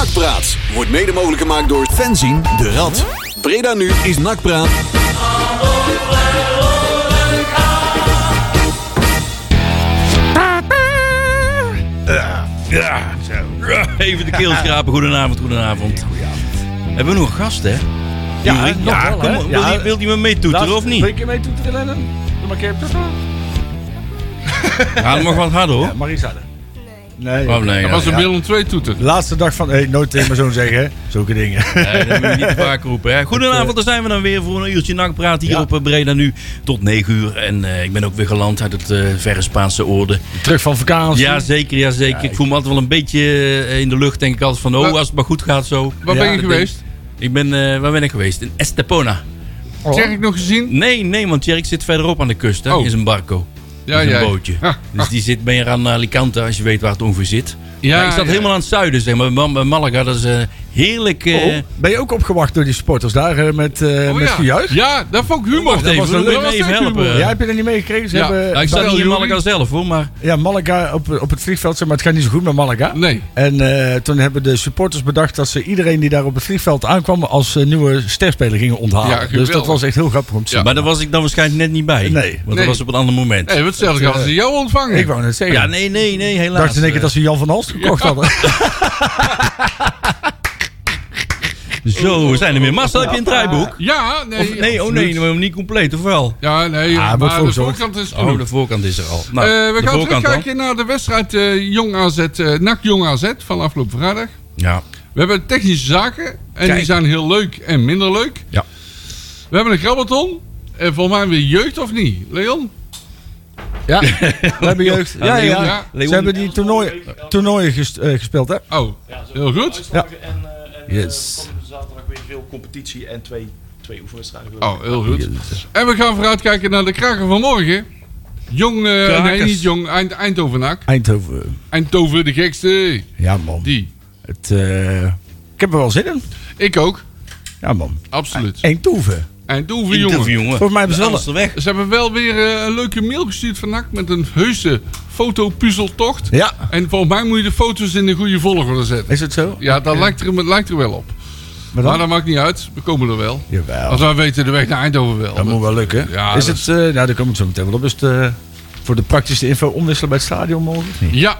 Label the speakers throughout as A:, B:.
A: Nakpraat wordt mede mogelijk gemaakt door Fenzin de Rad. Breda nu is Nakpraat.
B: Ja, zo. Even de keel schrapen. Goedenavond, goedenavond. Hebben we nog een gast, hè?
C: Ja,
B: Jury?
C: nog
B: ja,
C: wel,
B: kom
C: hè?
B: op. Wil
C: Ja.
B: die- Wil die me meetoeteren of
C: Wil je
B: niet?
C: een keer mee toeteren, Lennon? Doe maar een keer.
B: Ja, dat mag wat harder, hoor.
C: Ja, Marisa. Nee.
B: Oh, nee,
D: Dat
B: ja,
D: was een
B: ja.
D: Willem 2 toeter.
C: De laatste dag van... Hey, nooit tegen mijn zoon zeggen, hè. Zulke dingen.
B: Nee, dat moet je niet te vaak roepen. Hè. Goedenavond, daar zijn we dan weer voor een uurtje nachtpraat hier
C: Ja.
B: op eh, Breda nu tot 9 uur. En eh, ik ben ook weer geland uit het eh, verre Spaanse oorden.
C: Terug van vakantie.
B: Ja, zeker, ja, zeker. Ik voel me altijd wel een beetje eh, in de lucht, denk ik altijd van, oh,
D: Waar-
B: als het maar goed gaat zo.
D: Waar
C: Ja,
D: ben je
B: dat
D: geweest?
B: Ik ben, eh, waar ben ik geweest? In Estepona.
C: Oh.
D: Zeg ik nog gezien?
B: Nee, nee, want Jerk zit verderop aan de kust, hè,
D: Oh.
B: in zijn barco.
D: Ja,
B: in zijn
D: ja. Ah.
B: bootje.
D: Ja,
B: Dus die zit meer aan Alicante, als je weet waar het ongeveer zit.
D: Ja,
B: Maar ik zat
D: ja.
B: helemaal aan het zuiden, zeg maar. Bij Malaga, dat is eh, heerlijk... eh,
C: Oh, ben je ook opgewacht door die supporters daar eh, met, eh
D: Oh,
C: met
D: ja.
C: gejuich?
D: Ja, dat vond ik humor.
B: Wacht even, wil je me
D: was
B: even
D: echt
B: helpen?
D: humor.
C: Ja, heb je dat niet meegekregen? Ze
D: Ja,
C: hebben,
B: nou, eh. ik sta
D: Wel,
B: niet in
D: Joeri.
B: Malaga zelf, hoor, maar...
C: ja, Malaga op, op het vliegveld, zeg maar het gaat niet zo goed met Malaga.
D: Nee.
C: En eh, toen hebben de supporters bedacht dat ze iedereen die daar op het vliegveld aankwam als eh, nieuwe sterspeler gingen
D: Ja,
C: onthalen. dus
D: geweldig.
C: dat was echt heel grappig om te zien.
B: Maar daar was ik dan waarschijnlijk net niet bij.
C: Nee.
B: Want dat
D: Nee.
B: was op een ander moment.
D: Hé, wat stel ik als ze jou ontvangen?
C: Ik wou net zeggen.
B: Ja, nee, nee, nee, helaas. eh,
C: dacht in één keer dat ze Jan van Halst gekocht hadden.
B: Zo, we zijn er weer. Marcel, heb je een draaiboek?
D: Ja, nee.
B: Of, nee, oh nee,
D: absoluut.
B: maar niet compleet, of wel?
D: Ja, nee,
C: Ah, wordt
D: maar de
C: voorzorgd.
D: voorkant is
B: Oh,
D: goed.
B: de voorkant is er al. Nou,
D: Eh, we
B: de
D: gaan
B: voorkant dan.
D: terugkijken naar de wedstrijd eh, Jong AZ, eh NAC Jong AZ van afgelopen vrijdag.
B: Ja,
D: We hebben technische zaken en
B: Kijk.
D: die zijn heel leuk en minder leuk.
B: Ja.
D: We hebben een grabbelton. En volgens mij weer jeugd of niet, Leon?
C: Ja, we hebben jeugd.
B: Ja,
C: Ja, ja,
B: Leon-
D: ja.
C: Ze hebben die toernooi, toernooien ges- eh, gespeeld, hè?
D: Oh, heel goed.
C: Ja.
E: En, eh, en
C: Yes.
E: eh, komende zaterdag weer veel competitie en twee, twee oefenwedstrijden. geloof ik.
D: Oh, heel goed. En we gaan vooruitkijken naar de kraken van morgen. Jong, eh,
B: Krakers.
D: nee niet jong, Eind, Eindhovenak.
C: Eindhoven.
D: Eindhoven de gekste.
C: Ja, man.
D: Die.
C: Het, eh, ik heb er wel zin in.
D: Ik ook,
C: Ja, man.
D: absoluut.
C: Eindhoven.
D: Eindhoven
B: interview,
D: jongen.
B: jongen.
C: Volgens mij hebben ze wel-
B: Alles er weg.
D: Ze hebben wel weer eh, een leuke mail gestuurd van NAC met een heuse fotopuzzeltocht.
C: Ja.
D: En volgens mij moet je de foto's in de goede volgorde zetten.
C: Is het zo?
D: Ja, dat lijkt er, het lijkt er wel op.
C: Maar
D: Maar
C: dan?
D: dat maakt niet uit, we komen er wel.
C: Jawel.
D: Als wij weten de weg naar Eindhoven wel.
C: Dat moet wel lukken.
D: Ja,
C: is
D: dat
C: het, eh, nou, daar kom ik zo meteen wel op. Is het, eh, voor de praktische info omwisselen bij het stadion morgen? of niet?
D: Ja,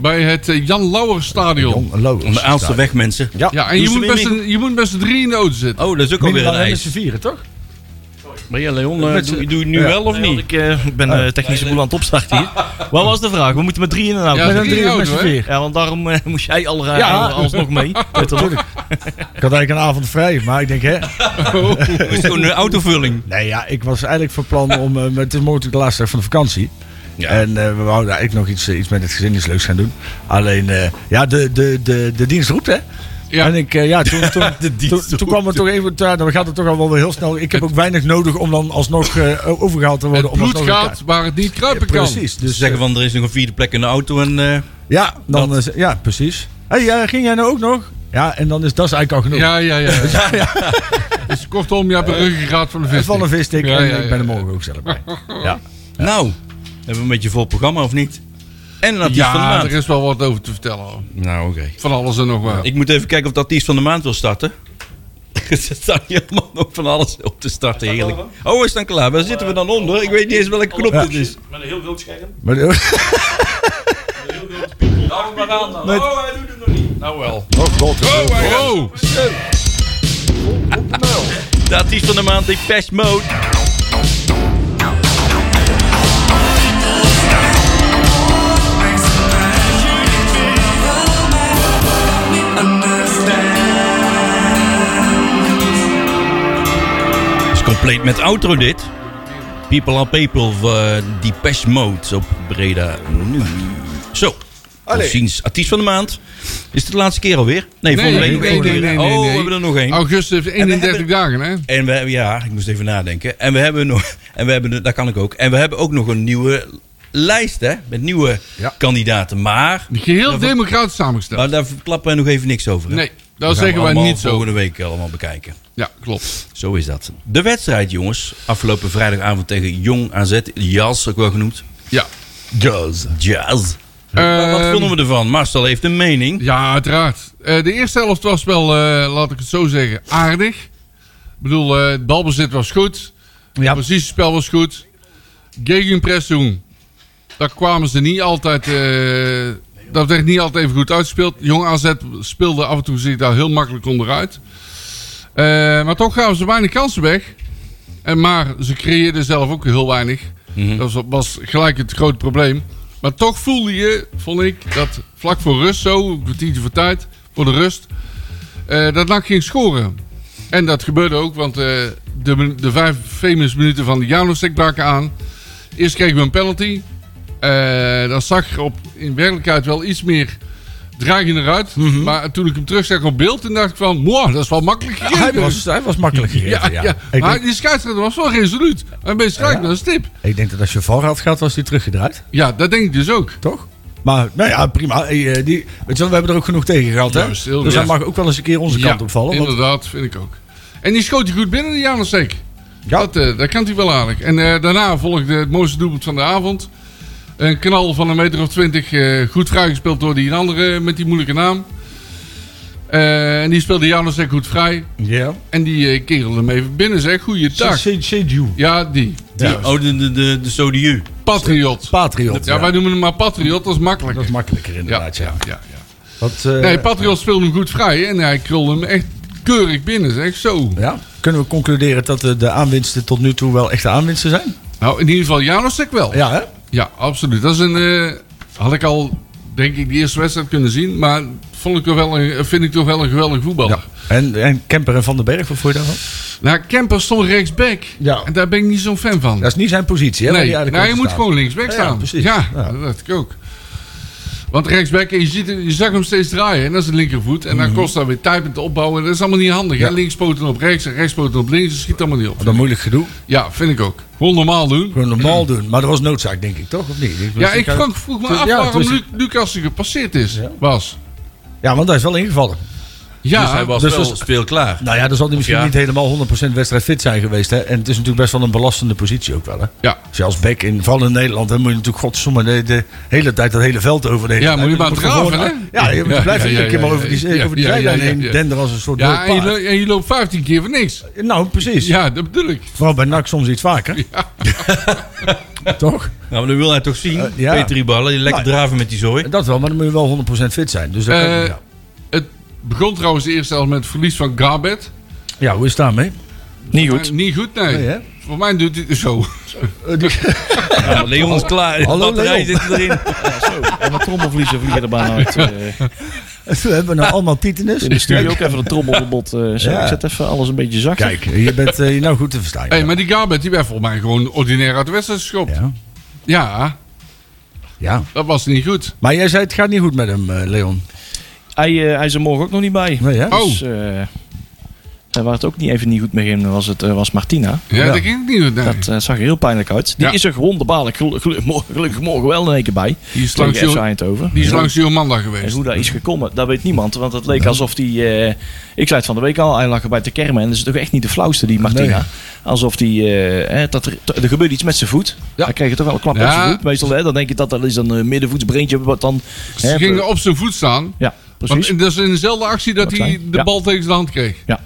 D: bij het eh, Jan Lauwer Stadion.
C: Jan Lauwers.
B: Om de Aalste weg, mensen.
C: Ja.
D: Ja, en je
B: Doen ze
D: moet,
B: weer
D: best een, je moet best een drie in de auto zitten.
B: Oh, dat is ook alweer een
C: Minimaal hebben
B: eis.
C: ze vieren, toch?
B: Maar ja, Leon, eh,
C: Met z'n-
B: doe, doe je het nu
C: Ja.
B: wel of
E: Nee, want
B: niet? Oh.
E: ik eh, ben eh, technische boel aan het opstarten hier. Wat was de vraag? We moeten met drie in de auto.
D: Ja,
C: Oh, Met een
D: drie
C: drie of met
D: auto's,
C: z'n
D: hè?
C: vier.
E: Ja, want daarom eh, moest jij al rijden
C: Ja.
E: alsnog mee. Weet je wel.
C: Ik had eigenlijk een avond vrij, maar ik denk, hè,
B: Het is gewoon een autovulling.
C: Nee, ja, ik was eigenlijk van plan om. eh, het is morgen de laatste dag van de vakantie.
B: Ja.
C: En eh, we wouden eigenlijk nog iets, eh, iets met het gezin, iets leuks gaan doen. Alleen, eh, ja, de, de, de, de dienst roept, hè?
D: Ja.
C: En ik, eh, ja, toen, toen,
B: dienst
C: toen, toen kwam het toch even. Ja, dan gaat het toch al wel weer heel snel. Ik heb ook weinig nodig om dan alsnog eh, overgehaald te worden.
D: Het
C: om
D: bloed
C: alsnog in
D: gaat waar het niet kruipen
C: elkaar-
D: kan.
C: Precies.
B: Dus
C: Dus,
B: zeggen van, er is nog een vierde plek in de auto en... eh,
C: eh, ja, dan, eh, ja, precies. Hé, hey, eh, ging jij nou ook nog? Ja, en dan is dat eigenlijk al genoeg.
D: Ja, ja, ja. Dus kortom, je hebt een ruggengraat van de vis.
C: Van een vistik.
D: Ja,
C: en
D: ja,
C: ik ben er
D: ja,
C: morgen ook zelf bij. Ja.
B: Nou, hebben we een beetje vol programma of niet? En een artiest van de
D: Ja,
B: maand.
D: er is wel wat over te vertellen. hoor.
B: Nou, oké.
D: Van alles en nog wat.
B: Ik moet even kijken of de artiest van de maand wil starten. Er staat hier helemaal nog van alles op te starten, heerlijk. Oh, we staan klaar. Waar zitten we dan onder? Ik weet niet eens welke knop dit is.
E: Met een heel groot scherm.
C: Maar, eh,
E: Nou, maar aan dan.
C: Met-
E: Oh, hij doet het nog niet.
B: Nou wel.
C: oh god.
D: Oh,
B: De artiest van de maand, Depeche Mode. Het is compleet met outro dit. People are people, eh Depeche Mode op Breda nu. Zo. Tot ziens. Artiest van de maand. Is het de laatste keer alweer? Nee,
D: Nee,
B: volgende week
D: nee,
B: nog
D: nee,
B: één.
D: nee, nee, nee,
B: Oh, we
D: nee.
B: hebben er nog één.
D: augustus heeft
B: En we
D: 31 dagen, hè?
B: En we hebben, ja, ik moest even nadenken. En we hebben nog, en we hebben, de- dat kan ik ook. En we hebben ook nog een nieuwe lijst, hè? Met nieuwe
C: Ja.
B: kandidaten. Maar,
D: Geheel democratisch samengesteld.
B: maar daar verklappen we nog even niks over. hè?
D: Nee,
B: gaan
D: dat
B: we
D: zeggen wij
B: allemaal
D: niet zo.
B: Volgende week allemaal bekijken.
D: Ja, klopt.
B: Zo is dat. De wedstrijd, jongens. Afgelopen vrijdagavond tegen Jong AZ. Jas, ook wel genoemd.
D: Ja.
B: Jazz. Jazz.
D: Eh,
B: Wat vonden we ervan? Marcel heeft een mening.
D: Ja, uiteraard. Eh, de eerste helft was wel, eh, laat ik het zo zeggen, aardig. Ik bedoel, eh, het balbezit was goed.
C: Ja.
D: Het positiespel was goed. Gegenpressing, daar kwamen ze niet altijd... eh, dat werd niet altijd even goed uitgespeeld. Jong AZ speelde af en toe zich daar heel makkelijk onderuit. Eh, maar toch gaven ze weinig kansen weg. En maar ze creëerden zelf ook heel weinig. Dat was, was gelijk het grote probleem. Maar toch voelde je, vond ik, dat vlak voor rust, zo een kwartiertje voor tijd, voor de rust, eh, dat NAC ging scoren. En dat gebeurde ook, want eh, de, min- de vijf famous minuten van de Janosek braken aan. Eerst kregen we een penalty. Eh dat zag er op, in werkelijkheid wel iets meer dreigend eruit.
C: Mhm.
D: Maar toen ik hem terugzag op beeld, toen dacht ik van... Wow, dat is wel makkelijk gegeven.
C: Hij was, hij was makkelijk
D: Ja,
C: gegeven.
D: ja.
C: Ja, Ik,
D: maar
C: denk,
D: die scheidsrechter was wel resoluut. Hij ben strak naar een stip.
C: ik denk dat als je VAR had gehad, was hij teruggedraaid.
D: Ja, dat denk ik dus ook.
C: Toch? Maar nou ja, prima. Hey, eh, die, weet je wel, we hebben er ook genoeg tegen gehad. Hè?
D: Juist, heel
C: dus hij
D: juist.
C: mag ook wel eens een keer onze
D: ja,
C: kant opvallen. Want,
D: inderdaad, vind ik ook. En die schoot hij goed binnen, die Janosek.
C: Ja.
D: Dat, eh, dat kan hij wel aardig. En eh, daarna volgde het mooiste doelpunt van de avond. Een knal van een meter of twintig. eh, goed vrijgespeeld door die andere met die moeilijke naam. Eh, en die speelde Janosek goed vrij.
C: ja.
D: En die eh, kerel hem even binnen, zeg. Goeie dag.
C: Seju.
D: Ja, die.
C: Ja.
B: Oh, de, de, de, de Sodieu.
D: Patriot.
C: Patriot.
D: Ja, wij noemen hem maar Patriot. Dat is makkelijk.
C: Dat is makkelijker
D: ja,
C: inderdaad, ja.
D: ja, ja, ja.
C: Wat, eh,
D: Nee, Patriot speelde hem goed vrij en hij krulde hem echt keurig binnen, zeg. Zo.
C: ja. Kunnen we concluderen dat eh, de aanwinsten tot nu toe wel echte aanwinsten zijn?
D: Nou, in ieder geval Janosek wel.
C: Ja, hè?
D: Ja, absoluut. Dat is een... eh, had ik al, denk ik, de eerste wedstrijd kunnen zien. Maar vond ik toch wel een, vind ik toch wel een geweldig voetballer.
C: En, en Kemper en Van den Berg, wat vond je daarvan?
D: Nou, Kemper stond rechtsback.
C: Ja.
D: En daar ben ik niet zo'n fan van.
C: Dat is niet zijn positie, hè? waar
D: nee,
C: hij eigenlijk
D: nou, je
C: op
D: moet
C: staat.
D: gewoon linksback
C: Ja,
D: staan.
C: ja, precies. Ja.
D: dat dacht ik ook. Want rechtsback, je, ziet, je zag hem steeds draaien. En dat is de linkervoet. En dan kost dat weer tijd met te opbouwen. Dat is allemaal niet handig. hè.
C: Mhm. Ja.
D: Linkspoten op rechts en rechtspoten op links. Dat schiet allemaal niet op.
C: Dat moeilijk gedoe.
D: Ja, vind ik ook. Gewoon normaal doen.
C: Gewoon normaal doen. Maar dat was noodzaak, denk dus ik, toch? Of niet?
D: Ja, ik vroeg, vroeg me
C: Toen-
D: af
C: ja, dus
D: waarom
C: toen is-
D: Luc, Lucas er gepasseerd is, was.
C: Ja, want hij is wel ingevallen.
D: Ja,
B: dus hij was
C: dus
B: wel
C: was-
B: speelklaar.
C: Nou ja, dan zal hij misschien
B: Ja.
C: niet helemaal 100% wedstrijd fit zijn geweest. Hè? En het is natuurlijk best wel een belastende positie ook wel. Hè?
D: ja.
C: Als je als back in, vooral in Nederland, dan moet je natuurlijk godsomme de, de hele tijd dat hele veld over de hele
D: Ja,
C: tijd.
D: moet je maar
C: gewoon-
D: draven, hè?
C: Ja, je
D: Ja,
C: blijft
D: ja,
C: een
D: ja,
C: keer
D: ja,
C: maar
D: ja,
C: over die,
D: ja,
C: over die
D: ja, ja,
C: zijlijn
D: ja,
C: heen
D: ja.
C: denderen als een soort
D: ja
C: ja,
D: en, je, lo- en je loopt 15 keer voor niks.
C: Nou, precies.
D: Ja, dat bedoel ik.
C: Vooral bij NAC soms iets vaker. Toch?
B: Nou, maar dan wil hij toch zien.
C: Eh, ja.
B: Peter Ballen, lekker
C: Nou,
B: draven met die zooi.
C: Dat wel, maar dan moet je wel 100% fit zijn. Dus dat kan
D: Eh,
C: niet, ja.
D: Het begon trouwens eerst al met het verlies van Gabet.
C: ja, hoe is het daarmee?
E: Niet
D: Maar
E: goed.
D: niet goed, nee.
C: Nee, hè?
D: voor mij doet hij zo.
C: Eh, die-
B: Ja, maar Leon is klaar. De
C: Hallo,
B: batterij
C: Leon.
B: zit erin.
E: Ja, zo. En wat trommelvliezen vliegen er bijna uit. eh.
C: we hebben nou allemaal titanus.
E: in de studio ook even een trommel op bot. eh, zo.
C: Ja.
E: Ik zet even alles een beetje zacht.
C: Kijk, je bent eh, hier nou goed te verstaan.
D: Hey, maar die Gabet die werd volgens mij gewoon ordinair uit de wedstrijd geschopt. Ja.
C: Ja. ja.
D: dat was niet goed.
C: Maar jij zei het gaat niet goed met hem, eh, Leon.
E: Hij, eh, hij is er morgen ook nog niet bij.
C: Nee, hè?
D: Oh.
E: Dus, eh, daar waar het ook niet even niet goed mee ging, was, het, eh, was Martina.
D: Ja,
C: Ja.
D: dat ging niet goed. Nee.
E: Dat eh, zag er heel pijnlijk uit. Die
D: Ja.
E: is er wonderbaarlijk gelu- gelu- mo- gelukkig morgen wel in één keer bij.
D: die is langs,
E: Tegen FC
D: Jo-
E: Eindhoven.
D: die is
E: Ja.
D: langs Jomanda
E: En
D: geweest.
E: hoe dat is gekomen, dat weet niemand. Want het leek alsof die... eh, ik zei het van de week al, hij lag er bij te kermen. En dat is toch echt niet de flauwste, die Martina.
C: Nee.
E: Alsof die... eh, eh, dat er, t- er gebeurde iets met zijn voet.
D: Ja.
E: Hij kreeg er toch wel een klap
D: Ja.
E: op zijn voet. Meestal hè, dan denk je dat dat is een eh, middenvoetsbreentje. Wat dan...
D: Ze
E: hè,
D: gingen op zijn voet staan.
E: Ja, precies.
D: Want dat is in dezelfde actie dat
E: Dat
D: hij
E: zijn,
D: de
E: ja.
D: bal tegen zijn hand kreeg.
E: Ja.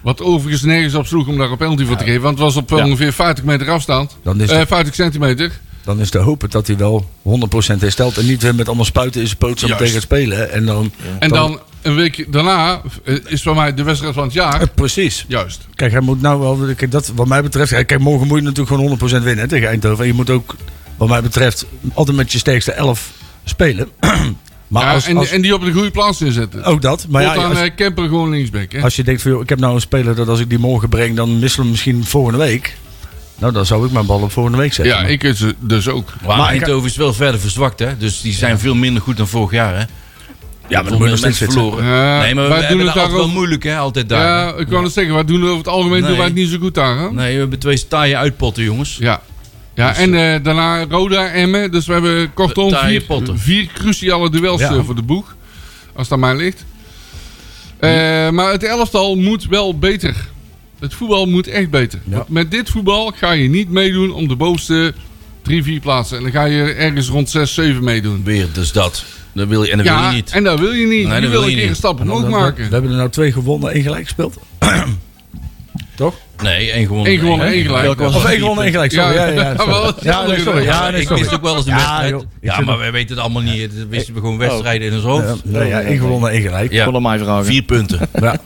D: Wat overigens nergens op sloeg om daar een penalty voor te geven. Want het was op
E: Ja.
D: ongeveer 50 meter afstand.
C: Dan is
D: Eh,
C: het-
D: 50 centimeter.
C: Dan is te hopen dat hij wel 100% herstelt. En niet weer met allemaal spuiten in zijn poot zo
D: Juist.
C: tegen het spelen. hè. En dan,
D: En dan een week daarna eh, is voor mij de wedstrijd van het
C: Eh,
D: jaar.
C: precies.
D: Juist.
C: Kijk, hij moet nou wel... Kijk, dat, wat mij betreft... ja, Kijk, morgen moet je natuurlijk gewoon 100% winnen hè, tegen Eindhoven. En je moet ook, wat mij betreft, altijd met je sterkste 11 spelen. maar
D: Ja,
C: als,
D: en,
C: als-
D: en die op de goede plaats neerzetten.
C: ook dat. Maar ja,
D: Tot aan
C: als,
D: eh, Kemper gewoon linksback. Hè?
C: als je denkt van... Joh, ik heb nou een speler dat als ik die morgen breng... dan wisselen we misschien volgende week. Nou, dan zou ik mijn bal op volgende week zetten.
D: ja,
C: Maar-
D: ik het ze- dus ook.
B: Maar,
C: Maar ik-
B: Eindhoven is wel verder verzwakt, hè? Dus die zijn veel minder goed dan vorig jaar, hè?
C: Ja, maar dan moet je nog steeds fit zijn.
B: verloren.
D: Ja,
B: nee, maar
D: Eh, wij
B: we
D: doen
B: hebben
D: het
B: het altijd
D: daar
B: wel
D: ook-
B: moeilijk, hè? Altijd daar.
D: Ja, ik kan het zeggen. Wij doen over het algemeen doen
B: Nee.
D: wij het niet zo goed aan. hè?
B: Nee, we hebben twee taaie uitpotten, jongens.
D: Ja.
C: Dus,
D: Ja, en eh, daarna Roda, Emmen. Dus we hebben kortom
B: Taaie
D: vier,
B: potten.
D: vier cruciale duels
C: Ja.
D: eh, voor de boeg. Als dat mij ligt. Eh,
C: Hm.
D: maar het elftal moet wel beter. Het voetbal moet echt beter.
C: Ja.
D: Want met dit voetbal ga je niet meedoen om de bovenste Drie, vier plaatsen. En dan ga je ergens rond 6, 7 meedoen.
B: Weer, dus dat. Dat wil je, en dat wil
D: ja,
B: je niet.
D: en dat wil je niet.
B: dat
D: je
B: wil
D: wil
B: je
D: een keer
B: niet.
D: een stap
C: En dan-
D: omhoog
C: we-
D: maken.
C: We hebben er nou twee gewonnen, één gelijk gespeeld. Toch?
B: Nee, één gewonnen.
D: Eén gewonnen, één gelijk.
B: Welke was
D: Of
C: Of
B: het?
C: één gewonnen, één gelijk. Sorry. Ja, ja, ja,
D: Ja, wel,
C: sorry. ja, nee, sorry. Ja, nee,
B: ik wist
C: sorry.
B: ook wel eens de
C: Ja,
B: wedstrijd.
C: joh, ik
B: ja,
C: vind
B: maar wij weten het allemaal niet. Dat wisten we gewoon wedstrijden in ons
C: Ja, Oh,
B: hoofd.
C: nee, ja, één gewonnen, één gelijk.
B: Ja.
E: Kon hem mij vragen.
B: Vier punten.
C: Ja.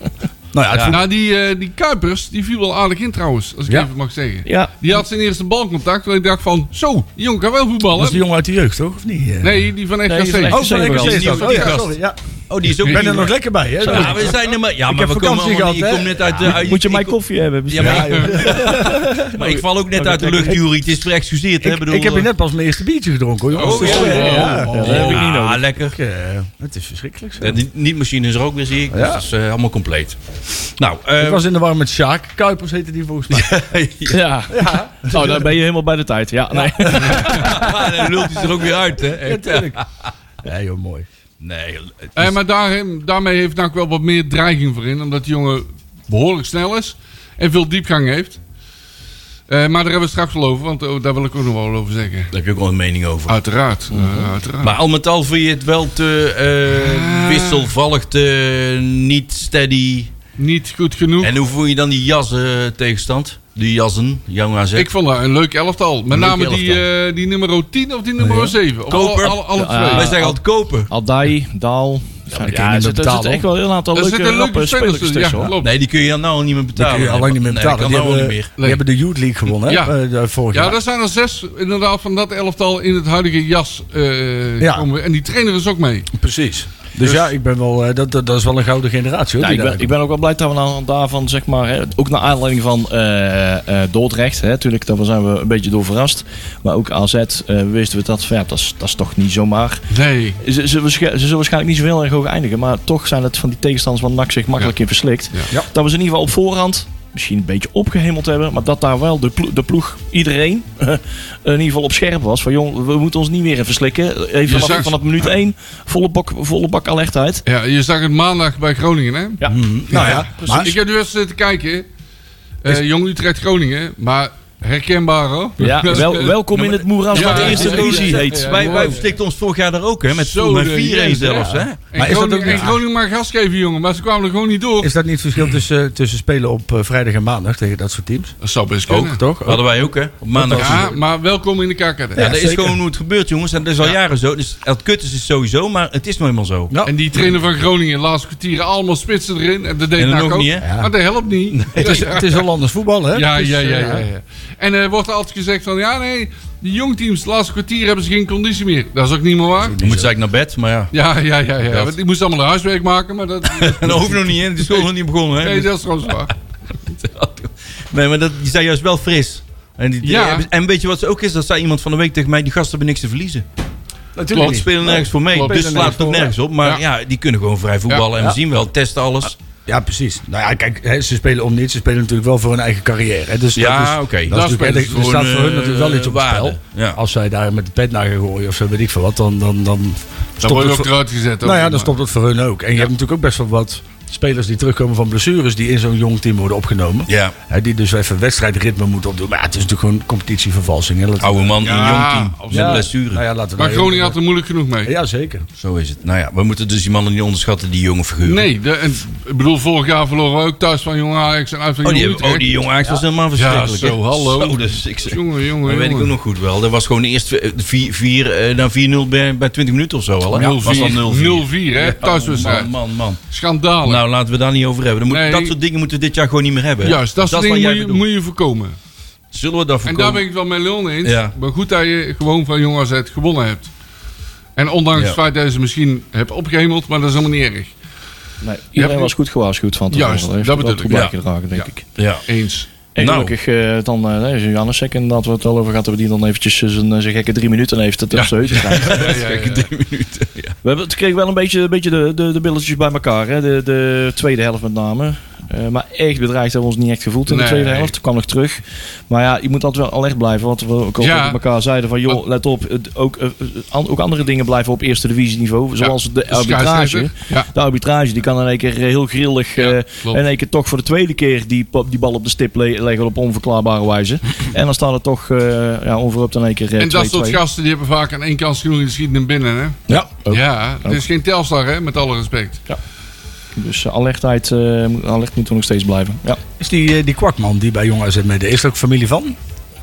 C: Nou ja, het voetbal-
D: Nou, die, eh, die Kuipers, die viel wel aardig in trouwens, als ik
C: Ja.
D: even mag zeggen.
E: Ja.
D: Die had zijn eerste balcontact, waar ik dacht van, zo, die jongen kan wel
C: dat is
D: voetballen.
C: die jongen uit de jeugd, toch? Of niet? Eh,
D: Nee, die van
E: Nee, die
D: echt
E: is
D: Nee,
E: echt-
C: Oh, van
E: Die
C: NEC
B: gast.
C: is dat. Oh
B: Die
C: ja,
B: gast.
C: sorry. Ja.
B: Oh, die is ook
C: Ik ben
B: niet-
C: er nog lekker bij, hè?
B: Ja, we zijn er maar. Ja, maar
C: heb
B: we komen
C: vakantie
B: allemaal niet. Ik
C: gehad,
B: kom
C: hè?
B: net uit de. uit-
E: Moet je mijn
B: ik-
E: koffie hebben?
B: Ja, maar,
C: Ja, joh.
B: ik, maar ik val ook net uit de
E: lekker.
B: lucht, Jury. Het is voor excuseerd. hè?
C: ik,
B: bedoel,
C: ik heb
B: eh,
C: hier net pas mijn eerste biertje gedronken, hoor. jongens.
D: Oh, ja,
C: Dus, eh,
D: ja, ja.
C: ja.
E: dat heb ik niet
B: Ah,
E: nodig.
B: lekker.
C: Eh, Het is verschrikkelijk. zo.
B: Ja, die nietmachine is er ook weer, zie ik. Dus
C: Ja.
B: dat is eh, allemaal compleet. Nou, eh,
C: Ik was in de war met Sjaak. Kuipers heette die volgens mij.
E: Ja. Oh, dan ben je helemaal bij de tijd. Ja, nee.
B: ja, dan lult hij er ook weer uit, hè?
C: Ja, tuurlijk. Ja, joh, mooi.
B: Nee, het is-
D: Eh, maar daar, daarmee heeft NAC wel wat meer dreiging voor in. Omdat die jongen behoorlijk snel is en veel diepgang heeft. Eh, maar daar hebben we het straks wel over, want oh, daar wil ik ook nog wel over zeggen.
B: daar heb je ook wel een mening over.
D: Uiteraard, eh, uiteraard.
B: Maar al met al vind je het wel te eh,
D: Ah.
B: wisselvallig, te niet steady.
D: Niet goed genoeg.
B: En hoe voel je dan die jas eh, tegenstand? Die jassen, Jong AZ.
D: ik vond dat een leuk elftal. Met
B: eh, Leuk
D: name Die,
B: elftal.
D: eh, die nummer 10 of die nummer 7. Of
B: Koper.
D: Alle, alle, alle
E: Ja,
D: twee.
B: Wij zeggen altijd kopen.
E: Aldai, Daal. Ja,
C: die kun je niet
E: er
C: meer
E: zitten er zitten
C: betalen,
E: echt wel een heel aantal
D: Er
E: leuke
D: zitten leuke
E: rappe
D: spelers
E: spelers
D: tussen. Ja,
E: tussen. hoor.
D: klopt.
B: Nee, die kun je dan nou al niet meer
C: Die
B: betalen.
C: kun je alleen niet meer
B: Nee,
C: betalen.
B: dat
C: die,
B: kan nou
C: hebben,
B: niet meer.
C: die hebben de Youth League gewonnen, hè?
D: Ja.
C: eh, de vorig
D: Ja,
C: jaar.
D: er zijn er zes inderdaad van dat elftal in het huidige jas eh
C: Ja.
D: komen. En die trainer is ook mee.
B: Precies.
C: Dus, ja, ik ben wel, eh, dat, dat, dat is wel een gouden generatie, hoor.
E: Ja,
C: die
E: ik, ben,
C: daar
E: ik ben ook wel blij dat we nou daarvan, zeg maar, hè, ook naar aanleiding van eh, eh, Dordrecht, hè, natuurlijk, daar zijn we een beetje door verrast. Maar ook AZ eh, wisten we dat, van, ja, dat, is, dat is toch niet zomaar.
D: Nee.
E: Ze, ze, waarsch- ze zullen waarschijnlijk niet zo heel erg hoog eindigen, maar toch zijn het van die tegenstanders waar NAC zich makkelijk in verslikt.
D: Ja.
C: Ja.
E: Dat we ze in ieder geval op voorhand misschien een beetje opgehemeld hebben, maar dat daar wel de, plo- de ploeg, iedereen, in ieder geval op scherp was. Van jong, we moeten ons niet meer in verslikken. Even vanaf,
D: zag-
E: vanaf minuut 1, volle bak, volle bak alertheid.
D: Ja, je zag het maandag bij Groningen, hè?
E: Ja.
C: Nou ja, maar-
D: Ik heb nu eens zitten kijken. Eh, Jong Utrecht Groningen, maar herkenbaar hoor.
E: Ja,
D: Dat is,
E: wel,
D: eh,
E: welkom in het moeras
D: Ja,
E: wat de
D: ja,
E: eerste
D: ja,
E: divisie
D: ja, ja.
E: heet.
B: Wij, wij verslikten ons vorig jaar er ook, hè? Met,
D: Zo
B: met
D: de
B: 4-1
D: jezus,
B: zelfs,
D: ja.
B: hè?
D: En
C: Maar is dat
D: Groningen,
C: ook-
D: en
C: ja.
D: Groningen maar gas geven, jongen. Maar ze kwamen er gewoon niet door.
C: Is dat niet het verschil tussen, tussen spelen op eh, vrijdag en maandag tegen dat soort teams?
D: Dat zou best
C: Ook,
D: kunnen.
C: toch?
B: Hadden wij ook, hè? Op maandag.
D: Ja, maar welkom in de KKD.
B: Ja, dat is
C: zeker.
B: gewoon hoe het gebeurt, jongens. En dat is al jaren zo. Dus het kut is het sowieso, maar het is nou eenmaal zo.
C: Ja.
D: En die trainer van Groningen, laatste kwartieren, allemaal spitsen erin. En dat deed
B: En dan
D: NAC
B: ook
D: ook.
B: niet, hè?
C: Ja.
D: Maar dat helpt niet.
C: Het is, het is al anders voetbal, hè?
D: Ja,
C: Het is,
D: ja, ja,
C: eh,
D: ja, ja. En er wordt altijd gezegd van, ja nee, die jongteams, het laatste kwartier hebben ze geen conditie meer. Dat is ook niet meer waar.
B: Je moet eigenlijk naar bed, maar ja.
D: Ja, ja, ja, ja. Want ik moest allemaal huiswerk maken, maar dat,
B: En dat hoeft nog niet, hè? Het is gewoon nog niet begonnen, hè? Dus-
D: nee, dat is gewoon zwaar.
B: Nee, maar dat, die zijn juist wel fris. En, die, die
D: Ja.
B: hebben- en weet je wat ze ook is? Dat zei iemand van de week tegen mij: die gasten hebben niks te verliezen.
C: Natuurlijk
B: Die
C: niet.
B: spelen nergens voor mee.
D: Klopt.
B: Dus
D: Spelen
B: slaat het ook
C: nergens
B: nergens op. Maar ja. die kunnen gewoon vrij voetballen. En we
C: Ja.
B: zien wel, testen alles.
C: Ja, precies. Nou ja, kijk, hè, ze spelen om niets. Ze spelen natuurlijk wel voor hun eigen carrière. Hè. Dus
B: Ja,
C: dat
B: oké.
C: is- dat
D: Daar
C: is natuurlijk-
D: spelen
B: ze
C: Er
B: voor
C: staat
B: hun,
C: voor hun natuurlijk wel iets op
B: eh,
C: het
B: waarde.
C: spel.
B: Ja.
C: Als zij daar met de pet naar gaan gooien of zo, weet ik veel wat, dan, dan, dan
D: Dan
C: stopt
D: word je
C: het
D: ook
C: voor-
D: eruit gezet. ook
C: Nou ja,
D: nog
C: dan
D: maar.
C: stopt het voor hun ook. En je hebt natuurlijk ook best wel wat spelers die terugkomen van blessures... die in zo'n jong team worden opgenomen.
B: Ja.
C: Hè, die dus even wedstrijdritme moeten opdoen. Maar ja, het is natuurlijk gewoon competitievervalsing. Hè. Dat-
B: Oude man in
D: Ja,
B: jong team. Met
D: absoluut.
B: blessures.
C: Nou ja, laten we
D: Maar
C: daar-
D: Groningen had er moeilijk genoeg mee.
C: Ja, zeker.
B: Zo is het. Nou ja, we moeten dus die mannen niet onderschatten, die jonge figuren.
D: Nee, de, en, ik bedoel, vorig jaar verloren we ook thuis van Jong Ajax en uit van
B: Oh, die,
D: Jong
B: hebben- oh,
D: Utrecht.
B: die jonge Ajax was helemaal verschrikkelijk.
D: zo,
B: hè?
D: hallo.
B: Zo, dus ik zeg.
D: Jongen, jongen,
B: Dat weet ik ook
D: jongen.
B: nog goed wel. Dat was gewoon eerst 4, 4, eh, dan 4-0 bij, bij 20 minuten of zo al. Hè? Ja, was dan
D: 0-4, 0-4, hè, thuiswedstrijd.
B: Oh, Man, man, man.
D: Schandalig.
B: Nou, laten we daar niet over hebben. Dan moet,
D: Nee.
B: Dat soort dingen moeten we dit jaar gewoon niet meer hebben.
D: Juist, dat soort
B: is wat
D: dingen
B: jij
D: moet je,
B: bedoelt.
D: moet je voorkomen.
B: Zullen we dat
D: En
B: voorkomen?
D: daar ben ik het wel mee Leon eens.
B: Ja.
D: Maar goed dat je gewoon van Jong AZ gewonnen hebt. En ondanks
B: Ja.
D: het feit dat je ze misschien hebt opgehemeld, maar dat is helemaal niet erg.
E: Nee,
D: hebt
E: iedereen
D: nu-
E: was goed gewaarschuwd van tevoren.
D: Juist,
E: Dat heeft
D: dat
E: wel
D: bedoel ik,
E: goed
B: ja.
E: bijgedragen, denk
D: Ja.
E: ik.
B: Ja.
D: Eens.
E: En
B: Nou.
E: gelukkig eh, dan, eh, nee, is Janne Sek inderdaad, waar we het al over gehad hebben, die dan eventjes eh, zijn, eh, zijn gekke drie minuten heeft. Dat
D: Ja.
E: ja. zo
D: Ja, ja, ja, ja.
B: minuten. Ja.
E: We hebben, het kreeg wel een beetje, een beetje de, de, de billetjes bij elkaar, hè? De, de tweede helft met name. Eh, maar echt bedreigd hebben we ons niet echt gevoeld in
D: Nee.
E: de tweede helft. Kwam nog terug. Maar ja, je moet altijd wel alert blijven. Wat we ook al
D: Ja.
E: tegen elkaar zeiden. Van joh, let op. het- Ook, eh, an- ook andere dingen blijven op eerste divisieniveau. Zoals de arbitrage.
D: scheidsrechter. Ja.
E: De arbitrage die kan in één keer heel grillig.
D: Ja,
E: eh,
D: klopt.
E: in één keer toch voor de tweede keer die, pa- die bal op de stip le- leggen op onverklaarbare wijze. en dan staat het toch eh ja, onverhoopt in één keer eh,
D: En dat soort
E: 2-2.
D: gasten die hebben vaak aan één kans genoeg en schieten hem binnen. Hè?
E: Ja, ook.
D: Ja, het is geen telstar, hè, met alle respect.
E: dus eh, alertheid eh, moet- alert moet er nog steeds blijven. Ja.
C: Is die, eh, die kwakman die bij Jong AZ meedeed, is er ook familie van?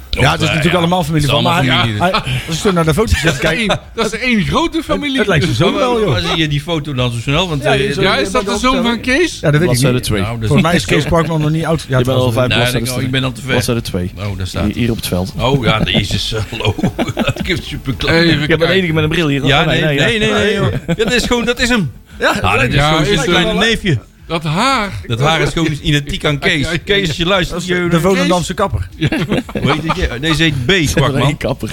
C: ja, het is
B: eh,
C: natuurlijk
B: ja,
C: allemaal familie
B: het
C: van.
B: is
C: Maar
B: allemaal
C: hij- hij- als je zo naar de foto's zit,
D: Dat is,
C: kijk,
D: één, dat is één grote familie.
C: het lijkt me zo
B: Maar
C: wel, joh.
B: Waar zie je die foto dan zo snel? Want,
C: Ja,
B: eh,
C: die is ook-
D: Ja, is dat de zoon van Kees?
C: Ja, dat weet ik
E: Bladzijde
C: niet.
E: 2.
B: nou, dat-
C: Volgens mij is Kees Kwakman nog niet oud. Ja,
E: Je bent al
C: trouwens,
E: vijf
B: Nee, ik denk,
E: bladzijden
B: oh, ik
E: terug.
B: ben al te ver.
E: Bladzijde 2.
B: Oh, daar staat
E: Hier, hier op het veld.
B: Oh ja, jezus, eh, hallo. Ik heb super
D: Even
E: Je bent de
D: kijken.
E: enige met een bril hier.
B: Ja,
E: Oh,
B: nee, nee,
E: ja.
B: nee. nee, joh. dat is gewoon, dat is hem.
C: Ja,
B: Ah, dat is
D: Ja,
B: gewoon
D: is
B: zijn
D: het
B: kleine
D: wel, hè?
B: neefje.
D: Dat haar.
B: Dat haar is gewoon identiek aan
D: Ja, ja, ja.
B: Kees. Kees, als je luistert. je-
C: de Volendamse kapper.
B: Hoe heet het? Ja, Deze heet B,
E: Nee,
B: kwakman.
E: kapper.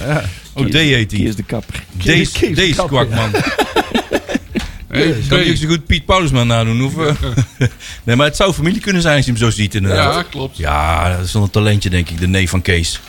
B: Oh, D heet
E: Die
B: hij.
E: is de kapper.
B: Dees,
C: Kees,
B: Dees
C: Kees,
B: kwakman.
D: Hey,
B: Kan je ook
D: twee.
B: zo goed Piet Paulusman nadoen? Of, eh? nee, maar het zou familie kunnen zijn als je hem zo ziet inderdaad.
D: Ja, klopt.
B: Ja, dat is wel een talentje, denk ik, de neef van Kees.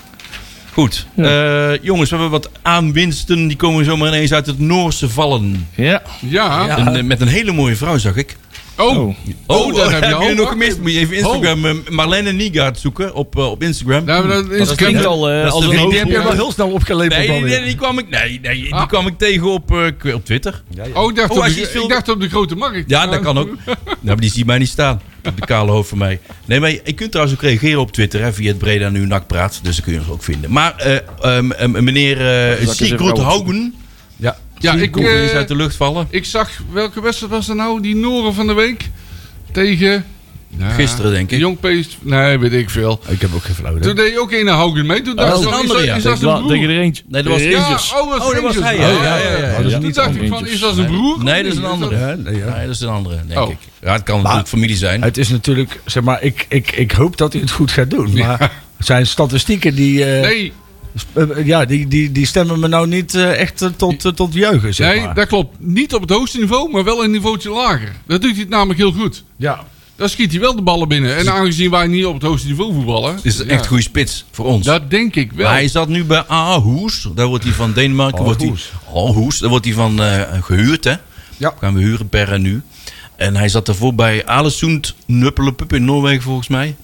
B: Goed. Eh, jongens, we hebben wat aanwinsten. Die komen zomaar ineens uit het Noorse vallen.
E: Ja.
D: Ja.
B: En, eh, met een hele mooie vrouw, zag ik.
D: Oh,
B: Oh, dat heb je,
D: al.
B: nog gemist. Moet je even Instagram eh, Marlene Niegaard zoeken op, eh, op Instagram.
D: Oh. daar hebben we dat
E: Dat klinkt
D: Instagram.
E: al eh,
B: dat is
E: als
B: de
E: een
B: vriendin.
C: Die heb je
D: ja.
C: wel heel snel opgeleverd.
B: Nee,
C: dan
B: nee,
C: weer.
B: nee, die kwam ik, nee, nee, die
D: Ah.
B: kwam ik tegen op, eh, ik weet- op Twitter.
D: Oh, ik dacht,
B: Oh,
D: op
B: als
D: de,
B: je iets wil-
D: ik dacht op de grote markt.
B: Ja, dat kan ook. Nou, maar die ziet mij niet staan. Op de kale hoofd van mij. Nee, maar je kunt trouwens ook reageren op Twitter. Hè, via het Breda Nu Nak Praat. Dus dat kun je ons ook vinden. Maar eh, ehm, ehm, meneer eh
E: eens even
B: Sigrid
E: gauw
B: Haugen. Ja,
D: Ja, ik,
B: ik kom eens
D: eh,
B: uit de lucht vallen.
D: Ik zag, welke wedstrijd was er nou? Die Noren van de week? Tegen... Ja,
B: Gisteren, denk ik.
D: Jong PSV. Nee, weet ik veel.
C: Ik heb ook geen flauw idee.
D: Toen deed je ook een naar Haugen mee. Toen dacht
B: Oh, dat
D: ik,
B: is
D: van,
B: een
D: is
B: andere,
D: dat-
B: ja.
D: is dat zijn
E: Denk
D: broer?
E: er eentje.
B: Nee, dat was
D: Ja,
B: Rangers.
D: oh, dat was
B: dat was
D: Rangers.
B: hij.
D: Ja,
B: Ja, ja, ja, ja.
D: ja,
B: Ja.
D: Toen dacht ik van, is dat zijn broer? of
B: Nee, dat is
D: niet?
B: een andere.
C: Ja, nee, ja.
B: Nee, dat is een andere, denk
D: Oh.
B: ik. Ja, het kan natuurlijk familie zijn.
C: Het is natuurlijk, zeg maar, ik, ik, ik hoop dat hij het goed gaat doen. Maar zijn statistieken die, eh,
D: Nee,
C: sp- eh, ja, die, die, die stemmen me nou niet eh, echt eh, tot, eh, tot juichen, zeg
D: nee,
C: maar.
D: dat klopt. Niet op het hoogste niveau, maar wel een niveautje lager. Dat doet hij het namelijk heel goed.
C: Ja.
D: Dan schiet hij wel de ballen binnen. En aangezien wij niet op het hoogste niveau voetballen...
B: Het is een
D: ja,
B: echt goede spits voor ons.
D: Dat denk ik wel.
B: Maar hij zat nu bij Aarhus. Daar wordt hij van Denemarken. wordt hij, Aarhus. Daar wordt hij van eh, gehuurd, hè?
C: Ja.
B: Gaan we huren per en nu. En hij zat daarvoor bij Alesund Nuppelupup in Noorwegen, volgens mij.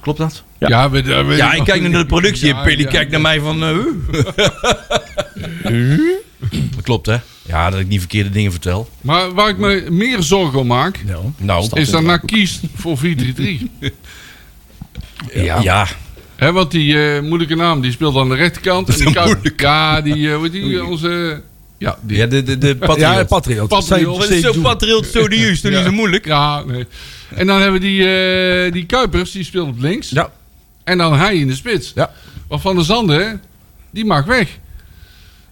B: Klopt dat?
D: Ja, we, we- we-
B: Ja, ik kijk naar de productie.
D: Ja,
B: Peli
D: ja,
B: kijkt naar mij van... eh, huh? dat klopt, hè? Ja, dat ik niet verkeerde dingen vertel.
D: Maar waar ik me meer zorgen om maak,
B: Nou,
D: is dat NAC kiest voor 4-3-3.
B: ja. ja.
D: Hè, want die eh, moeilijke naam, die speelde aan de rechterkant. En die kuip- ja, die, eh, hoe heet die, onze... Ja, die,
B: de, de, de patriot.
C: Ja, Patriot.
D: Patriot.
C: Zij-
B: Wat
C: zij
B: is zo
C: doen-
B: patriot, zo die juist. Toen is
D: Ja.
B: het moeilijk.
D: Ja, nee. En dan hebben we die, eh, die Kuipers, die speelt op links.
C: Ja.
D: En dan hij in de spits.
C: Ja.
D: Want Van der Zanden, die mag weg.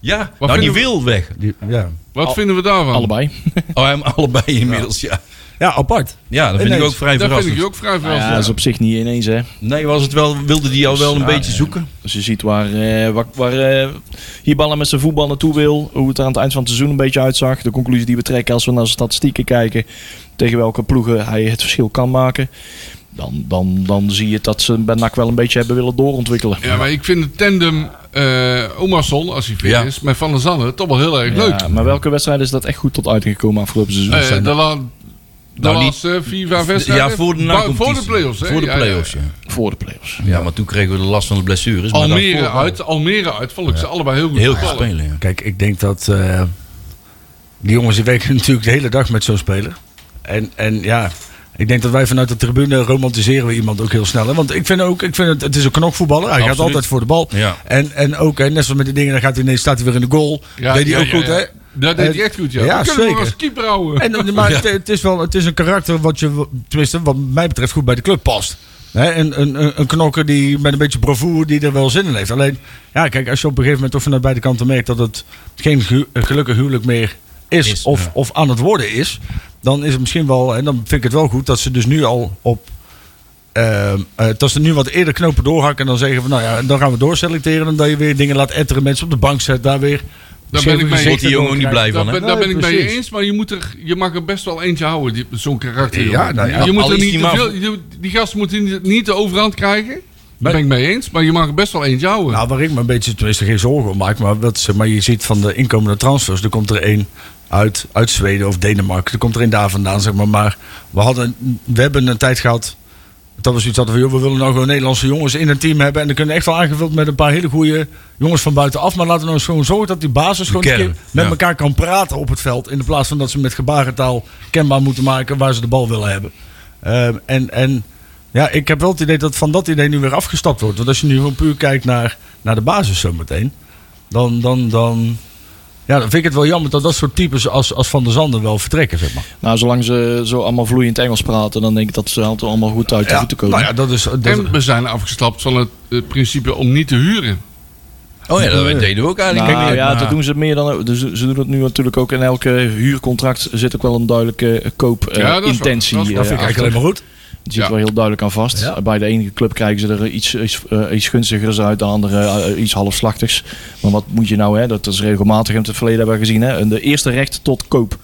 B: Ja,
D: Wat
B: nou die
D: vinden we-
B: wil weg.
C: die- ja.
D: Wat
E: Al-
D: vinden we daarvan?
E: Allebei.
B: Oh, hem allebei inmiddels, ja.
C: ja, apart.
B: Ja, dat vind ik
C: Ineens.
B: ook vrij
D: Dat vind
B: verrassend.
D: ik ook vrij
E: Ja, dat is
D: verrassend.
E: op zich niet ineens hè.
B: Nee, was het wel, wilde die al wel een
E: Ja,
B: beetje
E: ja.
B: zoeken?
E: Dus je ziet waar, eh, waar, waar eh, Hiballa met zijn voetbal naartoe wil. Hoe het er aan het eind van het seizoen een beetje uitzag. De conclusie die we trekken als we naar zijn statistieken kijken. Tegen welke ploegen hij het verschil kan maken. Dan, dan, dan zie je dat ze bij NAC wel een beetje hebben willen doorontwikkelen.
D: Ja, maar ik vind het tandem eh Omarsson, als hij fit
B: Ja.
D: is, met Van der Zanden toch wel heel erg
E: Ja,
D: leuk.
E: maar welke wedstrijd is dat echt goed tot uiting gekomen afgelopen seizoen?
D: Eh, de la, de
B: Nou, niet-
D: laatste vier, vijf wedstrijden.
B: Ja, voor de
D: Ba- Voor de
B: nacompetitie.
D: play-offs. hè?
B: Voor de
D: Ja, ja,
B: play-offs, ja.
E: Voor de playoffs.
B: Ja, maar toen kregen we de last van de blessures. maar
D: Almere
B: daarvoor-
D: uit, Almere uit. Vond ik ze allebei heel goed
B: Heel goed
D: voetballen.
B: spelen, ja.
C: Kijk, ik denk dat eh, die jongens die werken natuurlijk de hele dag met zo'n speler. En, en ja, ik denk dat wij vanuit de tribune romantiseren we iemand ook heel snel. Hè? Want ik vind ook, ik vind het, het is een knokvoetballer. Hij gaat
B: Absoluut.
C: altijd voor de bal.
B: Ja.
C: En, en ook, hè, net zoals met die dingen, dan gaat hij ineens, staat hij weer in de goal.
D: Ja,
C: Deed hij
D: ja,
C: ook
D: ja,
C: goed,
D: ja.
C: hè?
D: Dat deed
C: En-
D: hij echt goed, ja.
C: Ja,
D: We kunnen hem
C: zeker.
D: als keeper houden.
C: En, maar het, het is wel, het is een karakter wat je, tenminste, wat mij betreft, goed bij de club past. Hè, een, een, een- een knokker die met een beetje bravoure die er wel zin in heeft. Alleen, ja, kijk, als je op een gegeven moment toch vanuit beide kanten merkt dat het geen ge- gelukkig huwelijk meer is,
B: Is,
C: of,
B: ja.
C: of aan het worden is, dan is het misschien wel, en dan vind ik het wel goed dat ze dus nu al op. ehm, eh, dat ze nu wat eerder knopen doorhakken en dan zeggen van nou ja, dan gaan we doorselecteren. En dat je weer dingen laat etteren, mensen op de bank zet, daar weer
D: Daar
C: Zeven
D: ben ik mee
C: gezichten
B: Wordt die jongen ook niet
C: krijgen.
D: daar
B: blij van, hè?
D: ben, daar
C: Nee,
D: ben ik mee
C: precies.
D: eens, maar je, moet er, je mag er best wel eentje houden, die- zo'n karakter.
C: Ja,
D: jongen.
C: nou ja.
D: je
B: Al
D: moet er
B: is
D: niet
B: die
D: te
B: maar-
D: veel, je- die gast moet niet, niet de overhand krijgen.
C: Maar-
D: Daar ben ik mee eens, maar je mag er best wel eentje houden.
C: Nou, waar ik me een beetje tenminste geen zorgen om maak, maar, wat, zeg maar je ziet van de inkomende transfers, er komt er één uit, uit Zweden of Denemarken, er komt er één daar vandaan, zeg maar. Maar we, hadden, we hebben een tijd gehad, dat we zoiets hadden van, joh, we willen nou gewoon Nederlandse jongens in een team hebben en dan kunnen echt wel aangevuld met een paar hele goede jongens van buitenaf, maar laten we nou eens gewoon zorgen dat die basis gewoon een
B: kern,
C: keer met
B: ja.
C: elkaar kan praten op het veld, in de plaats van dat ze met gebarentaal kenbaar moeten maken waar ze de bal willen hebben. Ehm, en, en ja, ik heb wel het idee dat van dat idee nu weer afgestapt wordt. Want als je nu gewoon puur kijkt naar, naar de basis zometeen, dan, dan, dan, ja, dan vind ik het wel jammer dat dat soort types als, als Van der Zanden wel vertrekken, zeg maar.
E: Nou, zolang ze zo allemaal vloeiend Engels praten, dan denk ik dat ze altijd allemaal goed uit de
C: Ja,
E: voeten komen.
C: nou ja, dat is... Dat,
D: en we zijn afgestapt van het, het principe om niet te huren.
B: Oh ja, dat deden we ook eigenlijk.
E: Nou,
B: Kijk,
E: ja,
B: nou,
E: dat doen ze meer dan. Dus ze doen het nu natuurlijk ook in elke huurcontract zit ook wel een duidelijke eh,
D: Ja, dat is
E: koopintentie.
D: wel- dat is-
E: eh,
D: dat
C: vind ik eigenlijk
E: achter.
C: alleen maar goed.
E: Het zit
D: Ja.
E: wel heel duidelijk aan vast.
C: Ja.
E: Bij de ene club krijgen ze er iets, iets, eh, iets gunstigers uit, de andere eh, iets halfslachtigs. Maar wat moet je nou, hè? dat is regelmatig in het verleden hebben we gezien. Hè? De eerste recht tot koop.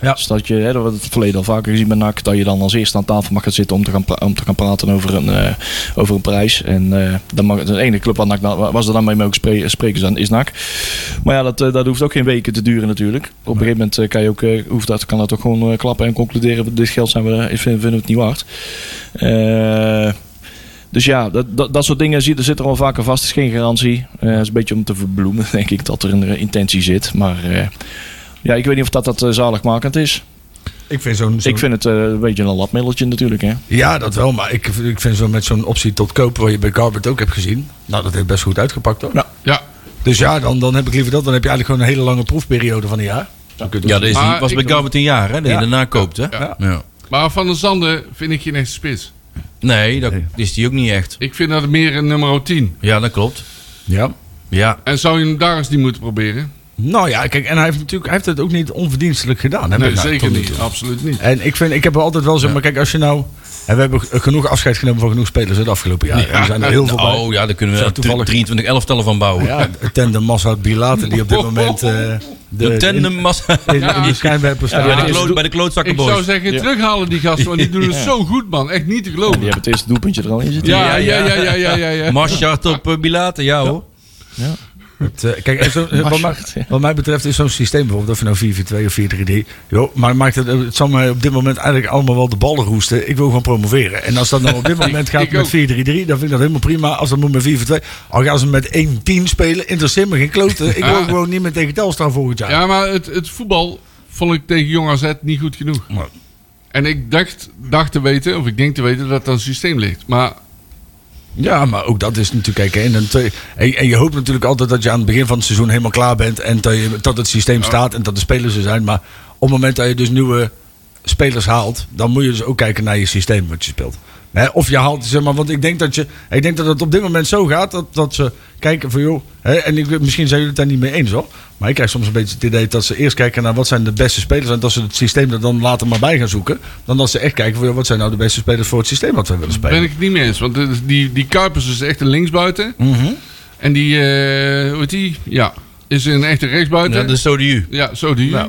C: Ja.
E: Dus dat je, hè, dat hebben we het verleden al vaker gezien bij NAC, dat je dan als eerste aan tafel mag gaan zitten om te gaan, pra- om te gaan praten over een, eh, over een prijs. En eh, dan mag, de ene club waar NAC dan- waar ze dan mee mogen spreken, spreken zijn, is NAC. Maar ja, dat, eh, dat hoeft ook geen weken te duren natuurlijk. Op een gegeven moment eh, kan, je ook, eh, hoeft dat, kan dat ook gewoon eh, klappen en concluderen. Dit geld zijn we, eh, vinden, vinden we het niet waard. Eh, dus ja, dat, dat, dat soort dingen zit, zit er al vaker vast. is geen garantie. Eh, Het is een beetje om te verbloemen, denk ik, dat er een eh, intentie zit. Maar eh, ja, ik weet niet of dat, dat eh, zaligmakend is.
C: Ik vind zo'n... zo'n-
E: Ik vind het eh, een beetje een lapmiddeltje natuurlijk. Hè.
C: Ja, dat wel, maar ik, ik vind zo met zo'n optie tot kopen, wat je bij Garbert ook hebt gezien, nou, dat heeft best goed uitgepakt, hoor.
D: Ja,
C: Dus ja, dan, dan heb ik liever dat. Dan heb je eigenlijk gewoon een hele lange proefperiode van een jaar. Dan kun je-
B: Ja, dat is-
D: Maar
B: was
D: ik-
B: bij Garbert een jaar, hè? Dat
C: Ja.
B: je daarna koopt, hè?
D: Ja.
B: Ja.
D: maar Van der Zanden vind ik geen echte spits.
B: Nee, dat is die ook niet echt.
D: Ik vind dat meer een nummer 10.
B: Ja, dat klopt.
C: ja.
B: Ja.
D: En zou je hem daar eens niet moeten proberen?
C: Nou ja, kijk, en hij heeft natuurlijk hij heeft het ook niet onverdienstelijk gedaan. Heb
D: Nee,
C: ik nou
D: zeker
C: tot nu
D: niet.
C: toe.
D: Absoluut niet.
C: En ik, vind, ik heb er altijd wel zeg maar, kijk, als je nou. En we hebben g- genoeg afscheid genomen van genoeg spelers het afgelopen jaar.
D: Ja.
C: Er zijn er heel veel bij.
B: Oh ja, daar kunnen
C: Zo
B: we
C: toevallig-
B: toevallig... 23 elftallen van bouwen.
C: Ja, tenden Massa Bilater die op dit moment. eh,
B: De tandem
C: in-
B: massa.
C: In, in,
D: Ja.
C: de schijnwerper staat.
B: bij, de
D: is-
B: kloot, bij
D: Ik
B: de
D: zou
B: klootzakkenboys.
D: zeggen, terughalen die gasten, want die doen het zo goed, man. Echt niet te
E: Die
D: geloven.
E: hebben het eerste doelpuntje er al in zitten.
D: Ja, ja, ja, ja, ja, ja. ja,
B: Marschart op eh, Bilater, ja hoor.
C: Het, eh, kijk, en zo, wat, mij,
E: Maschert, ja.
C: wat mij betreft is zo'n systeem bijvoorbeeld, of je nou 4-4-2 of 4-3-3, joh, maar maakt het, het zal mij op dit moment eigenlijk allemaal wel de ballen roesten. Ik wil gewoon promoveren. En als dat nou op dit moment gaat
D: ik
C: met
D: ook.
C: 4-3-3, dan vind ik dat helemaal prima. Als dat moet met 4-4-2, al gaan ze met 1-10 spelen, interesseert me geen kloten. Ik wil
D: Ja.
C: gewoon niet meer tegen Telstar volgend jaar.
D: Ja, maar het, het voetbal vond ik tegen Jong AZ niet goed genoeg.
C: Nee.
D: En ik dacht, dacht te weten, of ik denk te weten, dat dat een systeem ligt. Maar
C: Ja, maar ook dat is natuurlijk. Kijk, en, dan twee- en, en je hoopt natuurlijk altijd dat je aan het begin van het seizoen helemaal klaar bent. En dat, je, dat het systeem staat en dat de spelers er zijn. Maar op het moment dat je dus nieuwe spelers haalt, dan moet je dus ook kijken naar je systeem wat je speelt. Hè, of je haalt, zeg maar, want ik denk dat je. Ik denk dat het op dit moment zo gaat dat, dat ze kijken van joh. Hè, en ik, misschien zijn jullie het daar niet mee eens hoor. Maar ik krijg soms een beetje het idee dat ze eerst kijken naar wat zijn de beste spelers. En dat ze het systeem er dan later maar bij gaan zoeken. Dan dat ze echt kijken van joh, wat zijn nou de beste spelers voor het systeem wat we willen spelen.
D: ben ik het niet mee eens. Want de- die, die Kuipers is echt een linksbuiten. En die, eh, hoe heet die? Ja, is een echte
B: Ja, dus-
D: rechtsbuiten.
B: dat is zo de U.
D: Ja, zo die.
C: Nou,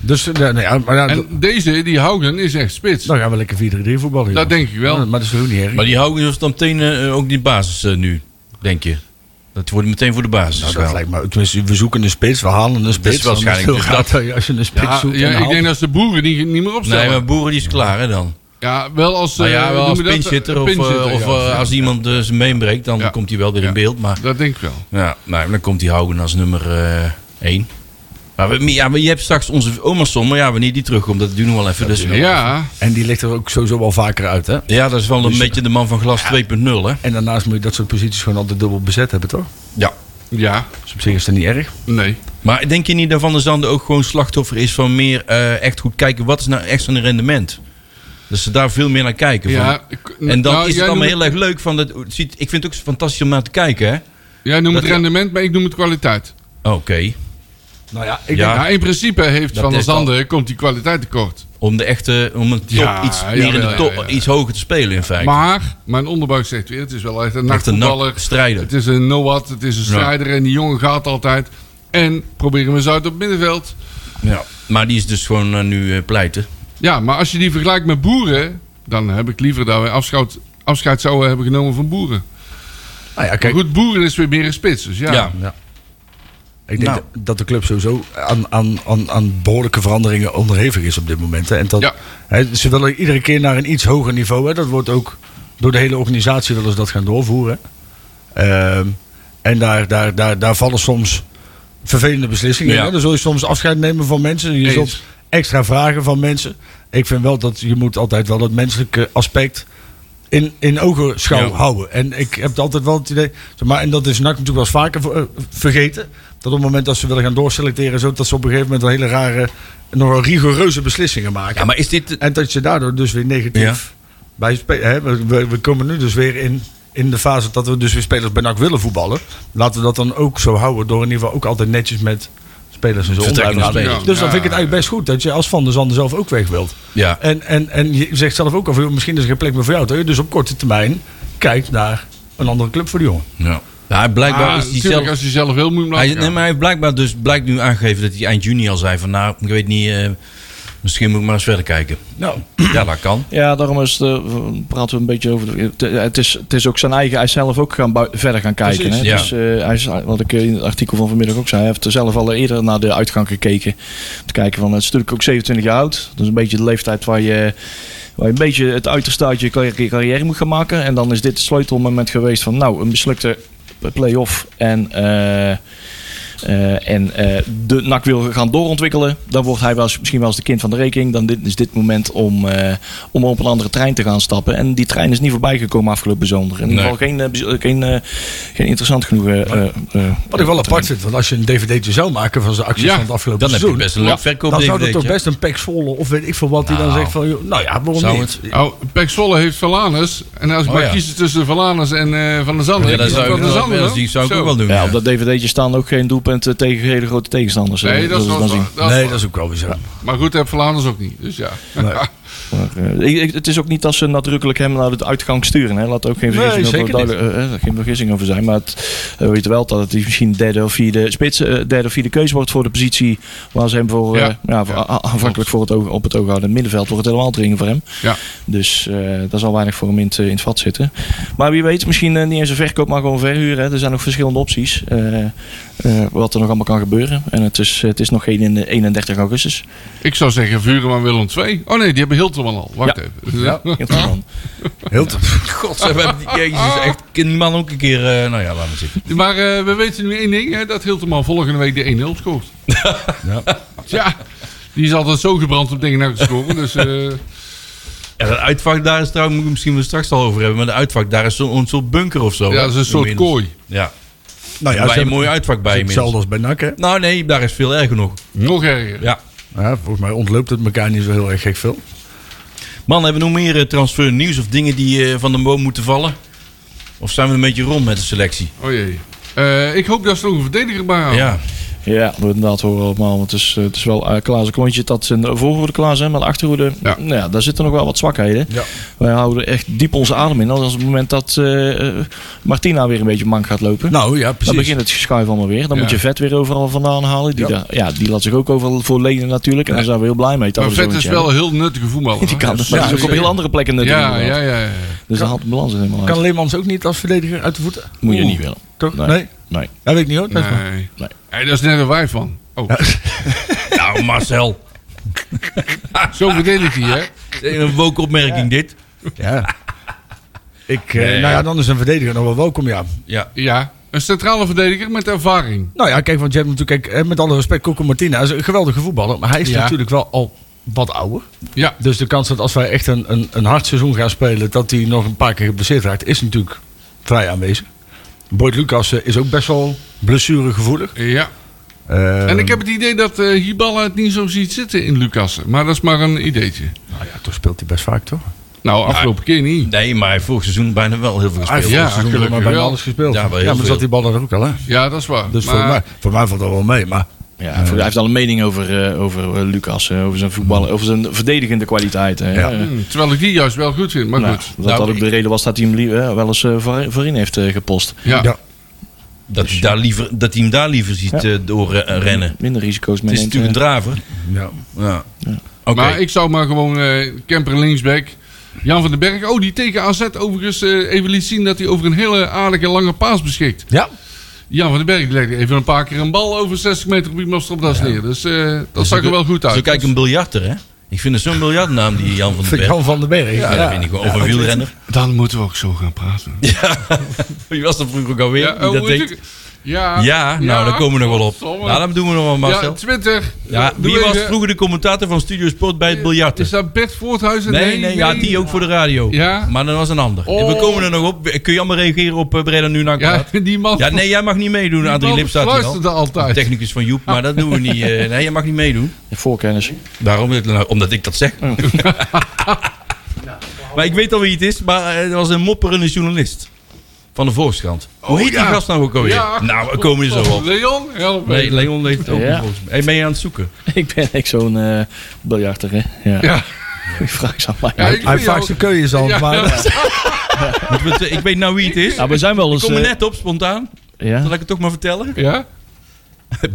C: Dus eh, nou ja, maar ja, d-
D: en deze, die Haugen, is echt spits.
C: dan gaan we Nou lekker 4-3 voetballen. joh.
D: Dat denk ik wel.
C: Ja, maar dat is ook niet erg.
B: Maar die houden dus dan meteen eh, ook die basis eh, nu, denk je. Dat wordt meteen voor de basis.
C: Nou, dat
B: wel.
C: lijkt me, tenminste, we zoeken een spits, we halen een spits. Dan
B: waarschijnlijk
C: heel
B: dus
C: raar
B: dat.
C: dat je- als je een spits
D: Ja,
C: zoekt.
D: ja,
C: en
D: ik
C: haalt.
D: denk dat ze de boeren die niet meer opstellen.
B: nee, maar Boeren die is klaar hè dan.
D: Ja, wel als,
B: Nou
D: eh,
B: ja, wel
D: hoe
B: als
D: noem je dat?
B: pinchitter of,
D: Pinchitter,
B: eh, of
D: ja.
B: eh, als iemand eh, zijn been breekt, dan
D: Ja.
B: komt hij wel weer in
D: Ja.
B: beeld. Maar
D: Dat denk ik wel.
B: ja, nou, dan komt die Haugen als nummer
D: eh,
B: 1. maar, we- ja, maar je hebt straks onze Omerson, maar ja, wanneer die terugkomt, dat duurt nog wel even. Dus,
D: Ja, Dus-
C: En die ligt er ook sowieso wel vaker uit, hè?
B: Ja, dat is wel een beetje de man van glas 2.0 hè.
C: En daarnaast moet je dat soort posities gewoon altijd dubbel bezet hebben, toch?
B: Ja.
D: ja,
C: Dus op zich is dat niet erg.
D: nee.
B: Maar denk je niet dat Van der Zanden ook gewoon slachtoffer is van meer eh, echt goed kijken wat is nou echt zijn rendement? Dat ze daar veel meer naar kijken. van.
D: Ja, ik-
B: En dan
D: nou,
B: is
D: jij
B: het allemaal
D: noemt-
B: heel erg leuk. Van dat, het ziet, ik vind het ook fantastisch om naar te kijken. Hè?
D: Jij noemt
B: Dat-
D: het rendement, maar ik noem het kwaliteit.
B: Oké.
C: Nou ja, ik
B: Ja.
D: Ja, in principe heeft
B: Dat
D: Van der
B: is dan-
D: Zanden komt die kwaliteit tekort.
B: Om de echte, om een top
D: Ja,
B: iets meer
D: jawel,
B: in de top,
D: ja, ja.
B: iets hoger te spelen in feite.
D: Maar mijn onderbuik zegt weer, het is wel echt een
B: Echt een
D: nachtvoetballer.
B: nachtstrijder.
D: Het is een no-what, het is een
B: Ja.
D: strijder en die jongen gaat altijd. En probeer hem eens uit op het middenveld.
B: Ja. Maar die is dus gewoon eh, nu eh, pleiten.
D: Ja, maar als je die vergelijkt met boeren, dan heb ik liever dat we afscheid, afscheid zouden hebben genomen van boeren.
C: Nou ja,
D: Maar
C: kijk.
D: goed, boeren is weer meer een spits. Dus ja.
B: Ja.
C: Ja. Ik denk
B: Nou.
C: dat- dat de club sowieso aan, aan, aan, aan behoorlijke veranderingen onderhevig is op dit moment. Hè. En dat,
D: Ja.
C: hè, ze willen iedere keer naar een iets hoger niveau. Hè. Dat wordt ook door de hele organisatie willen ze dat gaan doorvoeren. Ehm, en daar, daar, daar, daar vallen soms vervelende beslissingen.
B: Ja.
C: in, Hè. Dan zul je soms afscheid nemen van mensen. Je
D: Eens.
C: zult extra vragen van mensen. Ik vind wel dat je moet altijd wel dat menselijke aspect in, in ogenschouw
B: Ja.
C: houden. En ik heb altijd wel het idee, zeg maar, en dat is NAC natuurlijk wel eens vaker ver- eh, vergeten, dat op het moment dat ze willen gaan doorselecteren, zo, dat ze op een gegeven moment wel hele rare, nogal rigoureuze beslissingen maken.
B: Ja, maar is dit...
C: En dat je daardoor dus weer negatief bij spe- hè, we, we- we komen nu dus weer in, in de fase dat we dus weer spelers bij NAC willen voetballen. Laten we dat dan ook zo houden door in ieder geval ook altijd netjes met spelers en zo om te
B: Vertrekkende
C: gaan.
B: spelers.
C: Dus dan vind ik het
D: Ja.
C: eigenlijk best goed dat je als Van der Zanden zelf ook weg wilt.
B: Ja.
C: En, en, en je zegt zelf ook al, van, joh, misschien is er geen plek meer voor jou. Dat je dus op korte termijn kijkt naar een andere club voor de jongen.
B: Ja. Nou, blijkbaar
D: Maar
B: is die
D: Ah, natuurlijk,
B: zelf...
D: als je zelf wil, moet je hem laten
B: Hij, nee,
D: gaan.
B: maar hij heeft blijkbaar dus, blijkt nu aangegeven dat hij eind juni al zei van... Nou, ik weet niet, eh, misschien moet ik maar eens verder kijken.
C: Nou,
B: Ja, dat kan.
E: Ja, daarom is het, eh, praten we een beetje over. de- het- eh, Het is, het is ook zijn eigen. Hij is zelf ook gaan bui- verder gaan kijken.
C: Precies,
E: hè?
B: ja.
E: Dus, eh, hij is, wat ik in het artikel van vanmiddag ook zei. Hij heeft zelf al eerder naar de uitgang gekeken. Om Te kijken van. Het is natuurlijk ook 27 jaar oud. Dat is een beetje de leeftijd waar je. Waar je een beetje het uiterste uit je carri- carrière moet gaan maken. En dan is dit het sleutelmoment geweest van. Nou, een mislukte play-off. En. eh, eh, en eh, de NAC wil gaan doorontwikkelen. Dan wordt hij wel eens, misschien wel eens de kind van de rekening. Dan dit, is dit moment om, eh, om op een andere trein te gaan stappen. En die trein is niet voorbij gekomen afgelopen zomer. In ieder
B: Nee.
E: geval geen, eh, bijz- geen, eh, geen interessant genoeg. eh, eh, eh,
C: wat ik wel apart vind, want als je een dvd'tje zou maken van zijn acties
D: Ja,
C: van het afgelopen
B: Dan heb je
C: seizoen.
B: best een leuk verkoop
C: dan zou dat
B: DVD'tje.
C: toch best een pek Zwolle of weet ik veel wat die dan
B: Nou,
C: zegt van, joh, nou ja, waarom
B: zou
C: niet?
D: Nou, Pek Zwolle heeft Valanus. En als ik
B: Oh,
D: maar
B: ja.
D: kies tussen Valanus en eh, Van der Zanden.
B: Ja,
D: ik
B: dat
D: kies
B: zou
D: Van
B: ik,
D: der
B: wel-
D: Zanden,
B: ja,
D: hoor.
B: die zou ik
D: Zo.
B: ook wel doen.
E: ja,
B: ja.
E: op dat dvd'tje staan ook geen doelpunten tegen hele grote tegenstanders. eh,
D: Nee, dat, is
E: we
D: wel
E: dan zien.
D: dat is
C: nee,
D: wel-
C: dat is ook wel weer zo.
D: Maar goed, heb Valanus ook niet. Dus ja.
E: Maar, eh, ik- ik- het is ook niet dat ze nadrukkelijk hem naar de uitgang sturen. Hè. Laat er ook geen
C: Nee,
E: vergissing, over,
C: zeker niet.
E: duidelijk- eh, eh, geen vergissing over zijn. Maar het, eh, weet wel dat het misschien derde of vierde, spits, eh, derde of vierde keuze wordt voor de positie waar ze hem voor,
D: Ja.
E: eh, ja, voor-
D: Ja,
E: a- a- aanvankelijk voor het oog, op het oog houden. Het middenveld wordt het helemaal dringend voor hem.
D: Ja.
E: Dus eh, daar zal weinig voor hem in, het- in het vat zitten. Maar wie weet, misschien eh, niet eens een verkoop, maar gewoon verhuren. Hè. Er zijn nog verschillende opties. eh, eh, wat er nog allemaal kan gebeuren. En het is, het is nog geen in- 31 augustus.
D: Ik zou zeggen, vuren maar Willem 2. Oh nee, die hebben Hilterman al. Wacht
E: Ja.
D: even. Dus Ja.
E: Interessant.
C: Heel Nou tof.
B: God, ze hebben die- jezus, echt, kan die man ook een keer... eh, nou ja, laat maar zitten.
D: Maar eh, we weten nu één ding, hè, dat Hilterman volgende week de 1-0 scoort.
C: Ja.
D: Ja, die is altijd zo gebrand om tegen naar te scoren. Dus eh,
E: Oh,
B: Ja, dat uitvak daar is trouwens, moet ik misschien wel straks al over hebben. Maar de uitvak daar is zo'n soort bunker of zo.
D: ja,
B: hè?
D: dat is een soort
B: Inmiddels.
D: kooi.
B: Ja,
C: Nou
B: ja
C: ja,
B: bij
C: ze
B: een mooi
C: hebben-
B: uitvak bij
C: Hetzelfde
B: inmiddels.
C: als bij NAC, hè?
B: Nou nee, daar is veel erger nog.
D: Nog erger.
B: Ja.
C: Ja, volgens mij ontloopt het elkaar niet zo heel erg gek veel.
B: Man, hebben we nog meer eh, transfernieuws of dingen die eh, van de boom moeten vallen? Of zijn we een beetje rond met de selectie?
D: Oh jee. Eh, ik hoop dat ze nog een verdediger bij houden.
B: Ja.
E: Ja, we inderdaad horen we allemaal. Want het is, eh, het is wel eh Klaas Klontje, dat zijn de voorhoede Klaas, hè, maar de achterhoede,
D: Ja.
E: nou ja, daar zitten nog wel wat zwakheden.
C: Ja.
E: Wij houden echt diep onze adem in. Als op het moment dat eh, eh, Martina weer een beetje mank gaat lopen,
C: Nou ja, precies.
E: dan begint het geschuif allemaal weer. Dan
D: Ja.
E: moet je vet weer overal vandaan halen. Die,
C: Ja.
E: daar- ja, die laat zich ook overal voor lenen natuurlijk. En daar zijn we heel blij mee. dat
D: Maar
E: we zo'n
D: Vet is
E: eentje
D: wel een heel nuttige voetballer.
E: hebben. Die
D: hoor.
E: kan, maar die is ook op heel andere plekken natuurlijk.
D: Ja, ja, ja. ja.
E: Dus dan haalt de balans er helemaal uit.
C: Kan Leemans ook niet als verdediger uit de voeten?
E: Moet je
C: Oeh,
E: niet willen.
C: Toch? Nee.
E: Nee. Nee.
C: Dat weet ik niet hoor.
D: Nee.
C: Dat is maar-
E: Nee.
D: Hey, dat is net een wijf van. Oh,
B: Nou, Marcel.
D: zo verdedigt hij, hè?
B: Een woke opmerking dit.
C: Ja. Ik, eh,
B: Nee.
C: nou ja, dan is een verdediger nog wel welkom, ja.
B: Ja.
D: Ja. Een centrale verdediger met ervaring.
C: Nou ja, kijk, want je hebt natuurlijk, kijk, eh, met alle respect, Coco Martina is een geweldige voetballer. Maar hij is
D: Ja.
C: natuurlijk wel al wat ouder.
D: Ja.
C: Dus de kans dat als wij echt een, een, een hard seizoen gaan spelen, dat hij nog een paar keer geblesseerd raakt, is natuurlijk vrij aanwezig. Boyd Lucas eh, is ook best wel blessuregevoelig.
D: Ja.
C: Eh,
E: Ehm.
D: En ik heb het idee dat eh Hibala het niet zo ziet zitten in Lucassen. Maar dat is maar een ideetje.
C: Nou ja, toch speelt hij best vaak, toch?
D: Nou, afgelopen keer niet.
B: Nee, maar hij heeft vorig seizoen bijna wel heel veel
C: Hij
B: gespeeld.
C: heeft
D: Ah, Ja,
C: vorig seizoen
D: gelukkig
C: maar bijna
D: wel.
C: alles gespeeld.
B: Ja,
C: Ja,
B: wel heel
C: maar
B: veel.
C: zat die ballen er ook al, hè?
D: Ja, dat is waar.
C: Dus
D: Maar-
C: voor, mij, voor mij valt dat wel mee. Maar
E: Ja, voor- hij heeft al een mening over, eh, over eh, Lucas, eh, over zijn voetballen, over zijn verdedigende kwaliteiten. hè.
C: Ja.
E: Eh,
D: Hm, terwijl ik die juist wel goed vind. Maar
E: nou,
D: goed.
E: dat
B: Nou,
E: dat ook de reden was dat hij hem lie- eh, wel eens eh, voor- voorin heeft eh, gepost.
D: Ja.
C: Ja.
B: Dat, hij daar liever, dat hij hem daar liever ziet
E: Ja.
B: eh, door eh, rennen.
E: Minder risico's eh,
B: Het
E: mee
B: is natuurlijk een draver.
C: Ja.
B: Ja. Dus
D: Maar ik zou maar gewoon eh camper linksback. Jan van den Berg. Oh, die tegen AZ overigens eh, even liet zien dat hij over een hele aardige lange paas beschikt.
C: Ja.
D: Jan van den Berg die legde even een paar keer een bal over 60 meter op iemand op dat neer. Dus eh, dat zag er wel goed uit. Dus-
B: Zo kijk een biljarter, hè? Ik vind het zo'n biljartnaam, die Jan van den Berg.
C: Jan van den Berg.
B: Ja, dat vind ik wel. Of een wielrenner.
D: Dan moeten we ook zo gaan praten.
B: Wie was dat vroeger ook alweer?
D: Ja,
B: die
D: oh,
B: dat
D: moet
B: deed?
D: ik- ah, ja,
B: ja nou, daar komen we nog wel op.
D: Godsamme.
B: Nou, dat doen we nog wel,
D: Ja,
B: Marcel.
D: Twitter.
B: Ja,
D: Doe
B: wie was
D: even.
B: vroeger de commentator van Studio Sport bij het biljarten?
D: Is dat Bert Voorthuizen?
B: Nee, nee, ja, die ook voor de radio.
D: Ja.
B: Maar dat was een ander.
D: Oh.
B: We komen er nog op. Kun je allemaal reageren op eh, Breda nu naar
D: Ja,
B: ja.
D: die man.
B: ja, nee, jij mag niet meedoen. Adrie
D: man
B: Lip staat hier
D: fluisterde
B: al.
D: altijd.
B: De Technicus van Joep, maar dat doen we niet. eh, nee, jij mag niet meedoen.
E: Voorkennis.
B: Daarom, nou, omdat ik dat zeg. maar ik weet al wie het is, maar eh, er was een mopperende journalist. Van de Volkskrant. Hoe heet
D: Oh, ja.
B: die gast nou ook alweer?
D: Ja.
B: Nou, we komen er zo op.
D: Leon, help me.
B: Nee, Leon leeft ook
E: Ja.
B: niet volgens mij. Hey, ben je aan het zoeken?
E: Ik ben echt zo'n eh biljarter, hè. Ja.
D: Ja.
E: Ik vraag ze aan mij.
D: Ja, ik-
C: Hij heeft vaak zijn keuze al.
D: Ja,
C: maar
D: ja.
B: Moeten we het, eh, ik weet nou wie het is.
E: Nou, we zijn wel
B: Ik
E: eens...
B: kom er
E: eh,
B: net op, spontaan.
E: ja.
B: Zal ik het toch maar vertellen?
D: Ja?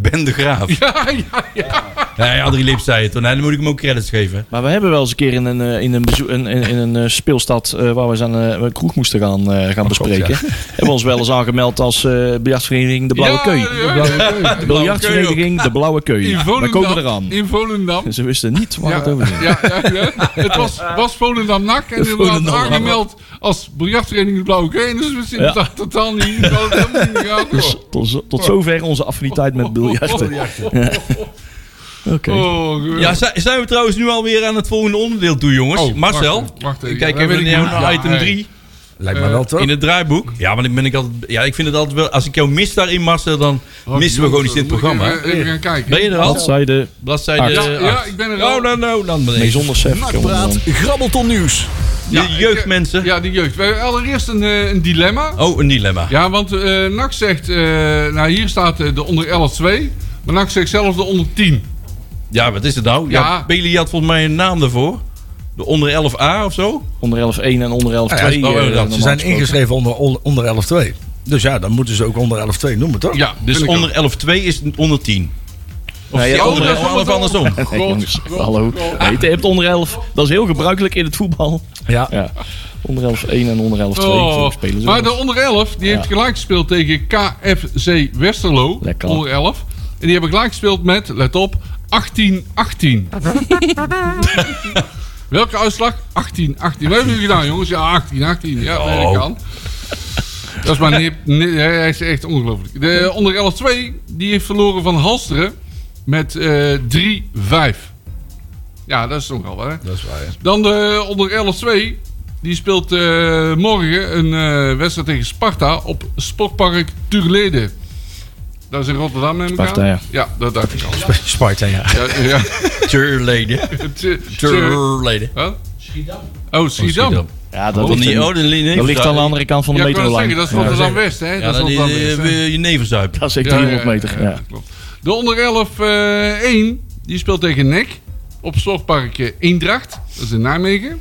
B: Ben de Graaf.
D: Ja, ja, ja.
B: Nee, Adrie Lip zei het. Nee, dan moet ik hem ook credits geven.
E: Maar we hebben wel eens een keer in een, eh, in een, bezoek, in, in, in een eh, speelstad eh, waar we eens aan eh, een kroeg moesten gaan, eh, gaan bespreken. Hebben we ons wel eens aangemeld als eh biljartvereniging De Blauwe
D: ja,
E: Keu.
D: ja, ja, ja.
E: De biljartvereniging De Blauwe Keu.
D: In
E: We
D: Volendam.
E: komen eraan.
D: In Volendam.
E: Ze wisten niet waar
D: Ja,
E: het over ging.
D: ja, ja, ja. Het was, was Volendam NAC en inderdaad
B: Volendam
D: aangemeld als biljartvereniging de Blauwe Keu. Dus we zien
E: Ja.
D: dat totaal niet in Volendam in de gaten.
E: Dus tot, zo- tot zover onze affiniteit met biljarten. Ja. Oké.
D: Oh, geweldig.
B: Ja, zi- zijn we trouwens nu alweer aan het volgende onderdeel toe, jongens?
D: Oh,
B: Marcel,
D: wacht even, wacht even.
B: ik kijk
D: Ja,
B: even
D: weet ik
B: naar
D: niet.
B: jou,
D: Ja,
B: naar item
D: hey.
B: 3
C: Lijkt me wel toch?
B: Eh, in het draaiboek. Ja, maar dan ben ik altijd. Ja, ik vind het altijd wel. Als ik jou mis daarin, Marcel, dan
D: Oh,
B: missen we gewoon iets in het
D: Moet ik
B: programma.
D: Even, even gaan kijken.
B: Ben je er al?
E: Bladzijde
B: Bladzijde.
D: eh, Ja,
B: eh,
D: ja,
B: acht.
D: ik ben er
B: Nou,
D: al.
B: nou, nou, dan ben
E: mee
B: ik.
E: zonder sef.
A: Nakpraat, grabbelton nieuws.
B: Je
D: Ja, ik,
B: jeugdmensen.
D: eh, Ja, die jeugd. We hebben allereerst een, eh, een dilemma.
B: Oh, een dilemma.
D: Ja, want eh NAC zegt... eh, nou, hier staat eh, de onder 11-2. Maar NAC zegt zelf de onder 10.
B: Ja, wat is het nou?
D: Ja.
B: Ja. Bailey had volgens mij een naam daarvoor. De onder 11a of zo.
E: Onder 11-1 en onder 11-2.
B: Ja, oh,
E: eh,
B: dat- ze
E: normaal
C: Ze zijn
E: gesproken.
C: ingeschreven onder, on- onder 11-2. Dus ja, dan moeten ze ook onder 11-2 noemen, toch?
D: Ja,
B: Dus
D: vind ik ook.
B: onder 11-2 is onder 10. Of
E: Nee,
B: is die
E: ja,
B: andere
D: onder-
B: of andersom?
E: Nee,
D: God,
E: jongens,
D: God,
E: hallo.
D: God.
E: Nee, je hebt onder 11. Dat is heel gebruikelijk in het voetbal.
C: Ja.
E: Ja. Onder 11 1 en onder 11 2
D: Oh,
E: spelen ze.
D: maar de
E: wel.
D: onder 11 die
E: Ja.
D: heeft gelijk gespeeld tegen KFC Westerlo.
E: Lekker.
D: Onder 11. En die hebben gelijk gespeeld met, let op, 18-18. Welke uitslag? 18-18. Wat hebben jullie gedaan, jongens? Ja, 18-18. Ja, nee, dat
B: Oh.
D: kan. Dat is maar niet. nee, hij is echt ongelooflijk. De onder 11-2 die heeft verloren van Halsteren met eh 3-5. Ja, dat is toch wel wat, hè?
C: Dat is waar, ja.
D: Dan de onder 11-2. Die speelt eh, morgen een eh, wedstrijd tegen Sparta op Sportpark Turlede. Dat is in Rotterdam, neem ik
E: Sparta,
D: aan.
E: ja.
D: ja. dat dacht ik al.
C: Sparta, ja.
D: Ja, ja.
B: Turleden.
D: Te- te-
B: Turleden.
D: Huh? Oh, Schiedam.
B: Schiedam.
E: Ja, dat
B: Oh,
E: ligt,
B: die-
E: aan-
B: oh, die li-
E: dat ligt aan de
B: nevenzuiger.
E: andere kant van de
D: Ja, ik kan het
E: metrolijn.
D: zeggen, dat is
E: ja.
D: Rotterdam West, hè?
B: Ja, eh,
D: dat is
B: dat is
D: Rotterdam West. hè?
B: je nevenzuip.
E: dat is echt
D: Ja,
E: 300
D: ja, ja,
E: meter. Ja.
D: klopt. De onder 11 eh, 1 die speelt tegen NEC op Zorgpark eh, Eendracht. Dat is in Nijmegen.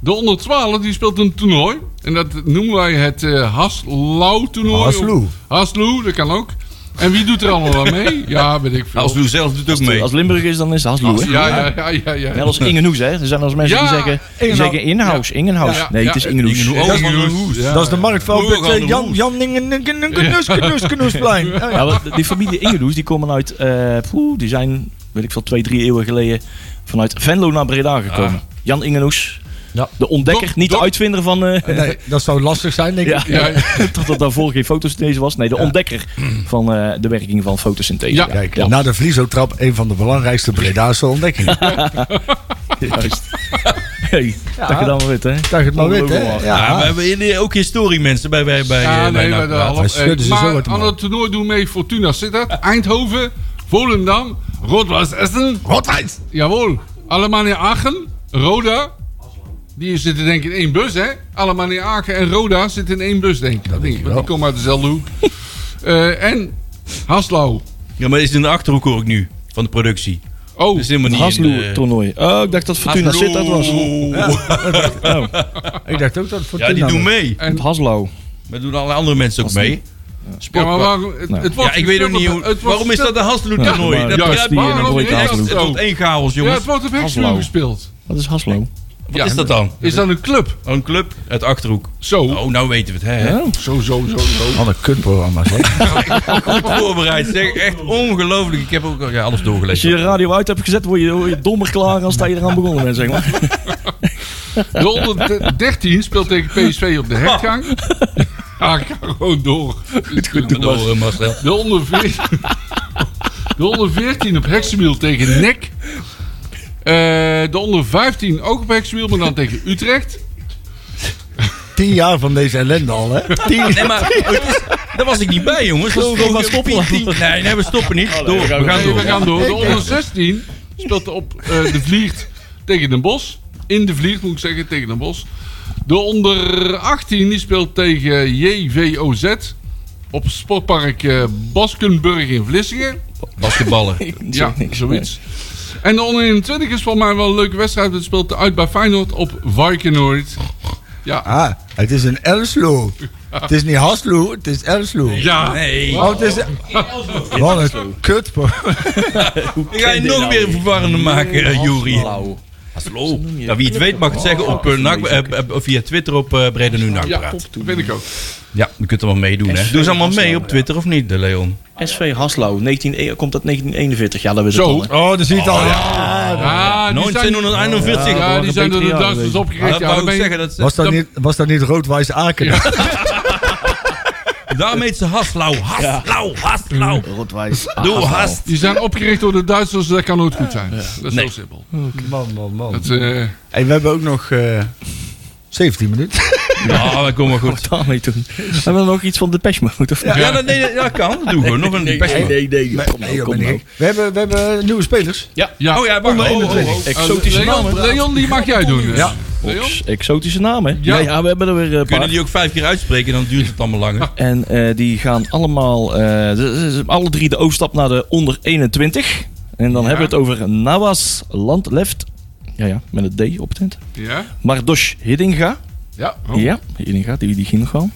D: De onder 12 die speelt een toernooi. En dat noemen wij het eh Haslau toernooi.
C: Haslou.
D: Of- Haslou, dat kan ook. En wie doet er allemaal aan mee? Ja, weet ik veel.
B: Als Lou zelf doet ook mee.
E: Als Limburg is, dan is het Haslo. hè?
D: Ja, ja, ja, ja. ja.
E: Net als Ingenhoes, hè? Er zijn als mensen
D: Ja,
E: die zeggen, die
C: Ingenhoes.
E: zeggen Inhouse, Ingenhouse.
D: Ja,
E: nee,
D: ja.
E: het is Ingenhoes.
B: Ingenhoes.
E: Ja,
B: is van de hoes.
D: Oh, Ja,
C: Dat is de
D: ja.
C: marktveld
B: Boeren
C: met
B: gaan
C: eh,
B: de
C: Jan,
B: hoes.
C: Jan Ningen, Ningen, Nus, Nus, Nus, Plein. Ja, ja.
E: maar die familie Ingenhoes, die komen uit, eh, poeh, die zijn, weet ik veel, twee, drie eeuwen geleden vanuit Venlo naar Breda gekomen. Jan Ingenhoes.
C: Ja.
E: De ontdekker,
D: Ah. Dok-
E: niet de
D: dok-
E: uitvinder van... eh,
C: Nee, dat zou lastig zijn, denk ik.
E: Ja,
D: Ja,
E: totdat daarvoor geen fotosynthese was. Nee, de ontdekker van eh, de werking van fotosynthese.
D: Ja.
C: Kijk, nou. na de Vliezotrap een van de belangrijkste Bredaanse ontdekkingen.
E: juist. Hey, Dat je dan maar weet, hè?
C: Dat je het maar weet, hè?
E: Ongelooflijk.
B: Ja,
C: Ja,
B: maar we hebben ook historie mensen bij bij bij.
D: Ja,
B: eh, bij
D: nee, maar,
B: NAC.
D: de, half-
C: Hij
D: eh,
C: schudde ze zo uit
D: maar
C: de
D: aan
C: mouw.
D: het toernooi doen mee Fortuna Sittard, Eindhoven, Volendam, Rood-West Essen,
C: Rotwijs!
D: Jawohl. Alemannia Aachen, Roda. Die zitten denk ik in één bus, hè? Alemannia Aachen en Roda zitten in één bus, denk ik. Dat denk ik, want die komen uit dezelfde hoek. Eh, en Haslau.
B: Ja, maar is het in de achterhoek hoor ik nu van de productie.
D: Oh,
B: Dat is helemaal niet. in eh,
D: eh,
B: de-
E: Hasloe-toernooi. Oh, ik dacht dat Fortuna
B: Haslo.
E: zit dat was.
C: Ik dacht ook dat het
B: Ja, die
C: Fortuna
B: doen
C: was.
B: mee.
E: Het Haslo.
B: Maar doen alle andere mensen ook mee.
D: Ja, maar
E: sportpark.
D: waarom, het,
E: Nou.
D: het
B: Ja,
D: wordt
B: ik weet ook
D: gespeeld
B: niet
D: op-
B: hoe.
D: het wordt
B: waarom is
D: gespeeld-
B: dat een Hasteloer
E: Ja,
B: toernooi?
E: maar
B: dat
D: juist
B: begrijp ik
D: die
B: niet.
D: en
B: Het
D: ook
B: wordt
D: die
B: chaos- het
D: Hasteloer.
B: wordt één chaos,
D: Ja,
B: jongens.
D: het wordt op Hexblue
E: Haslo.
D: gespeeld.
E: Dat is Haslo.
B: Wat is dat dan?
D: Is dat een club?
B: Een club uit Achterhoek.
D: Zo.
B: Oh, nou weten we het, hè?
E: Ja?
D: Zo, zo, zo, zo.
C: Wat een kutprogramma. zeg.
B: Goed voorbereid, zeg. Echt ongelooflijk. Ik heb ook ja, alles
E: Als je
B: doorgelezen.
E: je radio uit hebt gezet, word je, word je dommer klaar als dat je eraan begonnen bent, zeg maar.
D: De onder 13 speelt tegen PSV op de hechtgang. Ja, ik ga gewoon door.
B: Goed door, eh, Marcel.
D: De onder 14, de onder 14 op Hexenwiel tegen NEC. Eh, de onder 15 ook op Hexenwiel, maar dan tegen Utrecht.
C: Tien jaar van deze ellende al, hè? Tien
B: Nee, maar het is- daar was ik niet bij, jongens. Dat is
E: we gaan
B: gewoon
E: stoppen.
B: tien- tien- Nee, nee, we stoppen niet. Door, we gaan
D: Nee,
B: door.
D: we gaan door. De onder 16 speelt op eh, de Vliegt tegen Den Bos. In de Vliegt moet ik zeggen, tegen Den Bos. De onder 18 die speelt tegen JVOZ. Op sportpark eh, Baskenburg in Vlissingen.
B: Basketballen.
D: Ja, zoiets. En de onder 21 is volgens mij wel een leuke wedstrijd. Het speelt uit bij Feyenoord op Varkenoord. Ja.
C: Ah, het is een Elslo. Het is niet Haslo, het is Elslo.
D: Ja.
B: Nee.
C: Oh, het is... Wat een kutprogramma.
B: Ik ga je nou nog meer verwarrender maken, eh, Juri. Hallo. Nou, wie het weet mag het zeggen op, eh, NAC, eh, eh, via Twitter op eh Breda Nu NAC
D: Ja,
B: Praat.
D: dat vind ik ook.
B: Ja, je kunt er wel meedoen, hè. Doe ze allemaal mee op Twitter, of niet, de Leon?
E: SV Haslo, 19, komt dat 1941? Ja, dat we
D: Zo.
E: al.
C: Oh, dat zie je het al.
D: Ah, die zijn,
B: 1941.
E: Ja,
D: ja, die zijn door de
E: Ja,
D: Duitsers
E: dat
D: opgericht. Ja,
B: Eh, wou
D: dan
B: ik
D: ben je-
B: zeggen, dat,
C: Was dat
D: Dat-
C: niet, was dat niet rood-wijs Aken?
B: daarmee is ze haslau, haslau, haslau.
E: Mm,
B: Doe hast.
D: die zijn opgericht door de Duitsers, dus dat kan nooit goed zijn. Dat is
B: Nee.
D: heel simpel.
C: Man, man, man.
D: Dat, eh,
C: Hey, we hebben ook nog eh 17 minuten.
B: Ja, dat komt wel goed.
E: daarmee doen. Hebben we nog iets van de Mode? Of
B: Ja, dat, nee, dat- ja, kan. Dat doen we. Nog een Depeche Mode.
E: nee, nee.
C: Nee,
E: Kom nou.
C: nou, joh, ben ik gek. We hebben, we hebben nieuwe spelers.
D: ja. Eh,
B: Oh ja, wacht. Oh, oh, oh.
E: Exotische
D: Leon,
E: namen.
D: Leon, die mag jij doen. dus.
C: Ja.
D: Leon?
E: Ops, Exotische namen.
D: Ja.
E: Ja. ja, we hebben er weer een
B: Kunnen
E: paar.
B: die ook vijf keer uitspreken, dan duurt het allemaal langer.
E: En eh, die gaan allemaal, eh, de- de- alle drie de overstap naar de onder 21. En dan hebben we het over Nawas Landleft. Ja, ja, met het D op het eind.
D: Ja.
E: Mardosh Hiddinga.
D: Ja.
E: Ja, Hiddinga, die, die ging nog wel.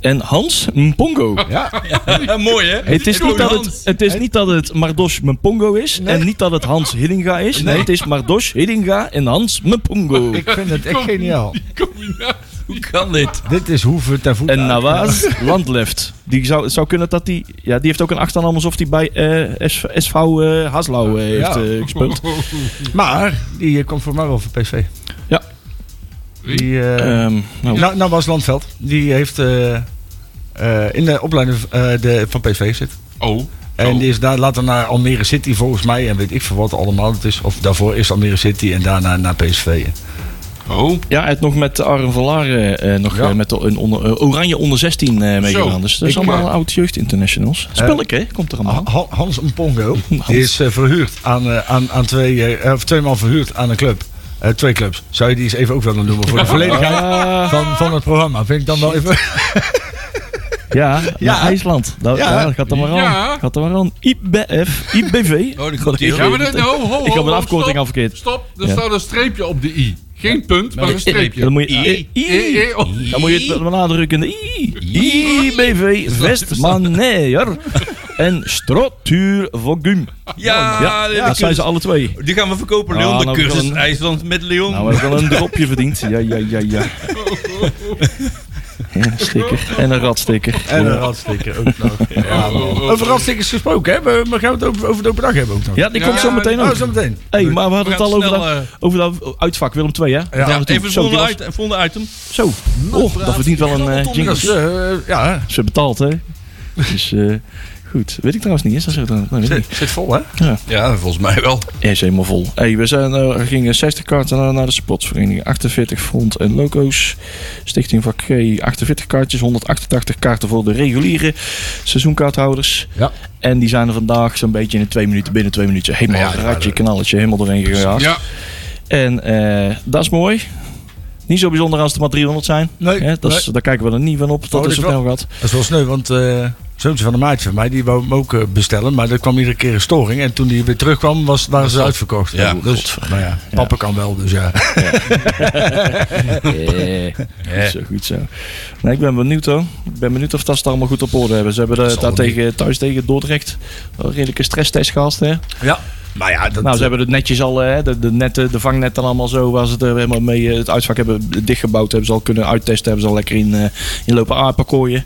E: En Hans Mpongo.
B: Ja, mooi, hè?
E: Het is, niet dat het,
B: Hans.
E: het is niet dat het Mardosh Mpongo is. En niet dat het Hans Hiddinga is. Nee, het is Mardosh Hiddinga en Hans Mpongo.
C: Ik vind het echt geniaal.
B: Hoe kan dit?
C: Dit is hoeven ten voet.
E: En Nawaz Landleft. Die zou, het zou kunnen dat die. Ja, die heeft ook een achternaam alsof hij bij eh, SV, SV eh, Haslau eh, heeft eh, gespeeld.
D: Oh,
C: Maar die eh, komt voor mij wel voor PSV.
E: Ja.
C: Die, eh,
E: Ehm, nou,
C: nou, nou was Landveld. Die heeft eh, eh, in de opleiding eh, de, van PSV gezeten.
D: Oh.
C: En
D: Oh.
C: die is daar later naar Almere City volgens mij. En weet ik veel wat allemaal het is. Of daarvoor is Almere City en daarna naar PSV.
D: Oh.
E: ja, hij heeft nog met Arjen Verlaren eh, nog
C: Ja.
E: eh, met de een onder, eh, Oranje onder 16 eh, meegedaan. Dus dat is
D: Ik,
E: allemaal
D: eh,
E: oud jeugd internationals. Spel ik, hè? Komt er allemaal.
C: Ha- Hans Mpongo die is eh, verhuurd aan, eh, aan, aan twee, eh, of tweemaal verhuurd aan een club. Eh, twee clubs. Zou je die eens even ook willen noemen voor de volledigheid
E: Ah,
C: van, van het programma? Vind ik dan wel even.
E: ja, ja, IJsland. Nou,
C: Ja.
E: ja. gaat er maar aan.
D: Ja.
E: Gaat er maar aan. IBF, IBV.
B: Oh, die komt hier.
D: Ja, maar dat, ho, ho, ho,
E: Ik had mijn
D: ho,
E: afkorting
D: stop,
E: al verkeerd.
D: Stop, er
E: Ja.
D: staat een streepje op de i. Geen punt, maar
B: maar
D: een
B: een
D: streepje.
E: Dan moet je.
B: I-
E: I-
D: Eh, eh, oh.
E: Dan moet je het benadrukken. I, IBV Westmaneer en Structuurvogum.
B: Ja,
D: Ah,
B: die
E: dat zijn
B: kunnen-
E: ze alle twee.
B: Die gaan we verkopen, Leon.
E: Ah,
B: de
E: nou, we
B: cursus
E: gaan-
B: IJsland met Leon.
E: Nou, we hebben wel een dropje verdiend. Ja, ja, ja, ja. Ja, een sticker. En een ratsticker.
C: En een ratsticker ook nog. Ja, man. over ratstickers gesproken, hè? We, maar gaan we het over, over de open dag hebben ook nog?
E: Ja, die komt
D: Ja,
E: zo meteen
C: Oh,
E: ook.
C: zo meteen.
E: hey, maar we hadden
B: We
E: het
B: gaan
E: al over
B: snel,
E: dat,
B: eh,
E: over dat uitvak Willem 2, hè? Daar
B: ja,
E: naartoe.
B: even het
E: zo, die
B: volgende,
E: was-
B: uit- volgende item.
E: Zo. Oh, dat verdient wel een eh
C: Dat
E: jingle.
C: is, eh, ja,
E: Ze betaalt, hè? Dus, eh, goed. Weet ik trouwens niet. Is dat zo dan? Nou, weet ik niet.
C: zit, zit vol, hè?
B: Ja, volgens mij wel.
E: Is helemaal vol. Hey, we zijn, eh, we gingen 60 kaarten naar, naar de sportsvereniging. 48 front en loco's. Stichting vak G 48 kaartjes. 188 kaarten voor de reguliere seizoenkaarthouders.
C: Ja.
E: En die zijn er vandaag zo'n beetje in de twee minuten, binnen twee minuten. Helemaal
C: Ja, ja,
E: ratje, knalletje, helemaal doorheen gegaan.
D: Ja,
E: En eh, dat is mooi. Niet zo bijzonder als er maar 300 zijn.
C: Nee,
E: Hè, dat is, Daar kijken we er niet van op dat
C: Oh,
E: het
C: dat
E: zo
C: is wel-
E: snel gaat.
C: Dat is wel sneu, want eh zoontje van een maatje van mij, die wou hem ook eh, bestellen. Maar er kwam iedere keer een storing. En toen hij weer terugkwam, was, waren ze uitverkocht.
B: Ja,
C: dus, nou ja, papa kan wel, dus ja.
E: Eh, Goed zo, goed zo. Nee, ik ben benieuwd hoor. Ik ben benieuwd of dat ze het allemaal goed op orde hebben. Ze hebben eh, daar tegen, thuis tegen Dordrecht wel een redelijke stresstest gehad. Hè?
C: ja. Maar ja, dat,
E: Nou, ze hebben het netjes al, hè, de, de, netten, de vangnet en allemaal zo, waar ze het er helemaal mee eh, het uitvak hebben dichtgebouwd, hebben ze al kunnen uittesten, hebben ze al lekker in, eh in lopen aardpakkooien.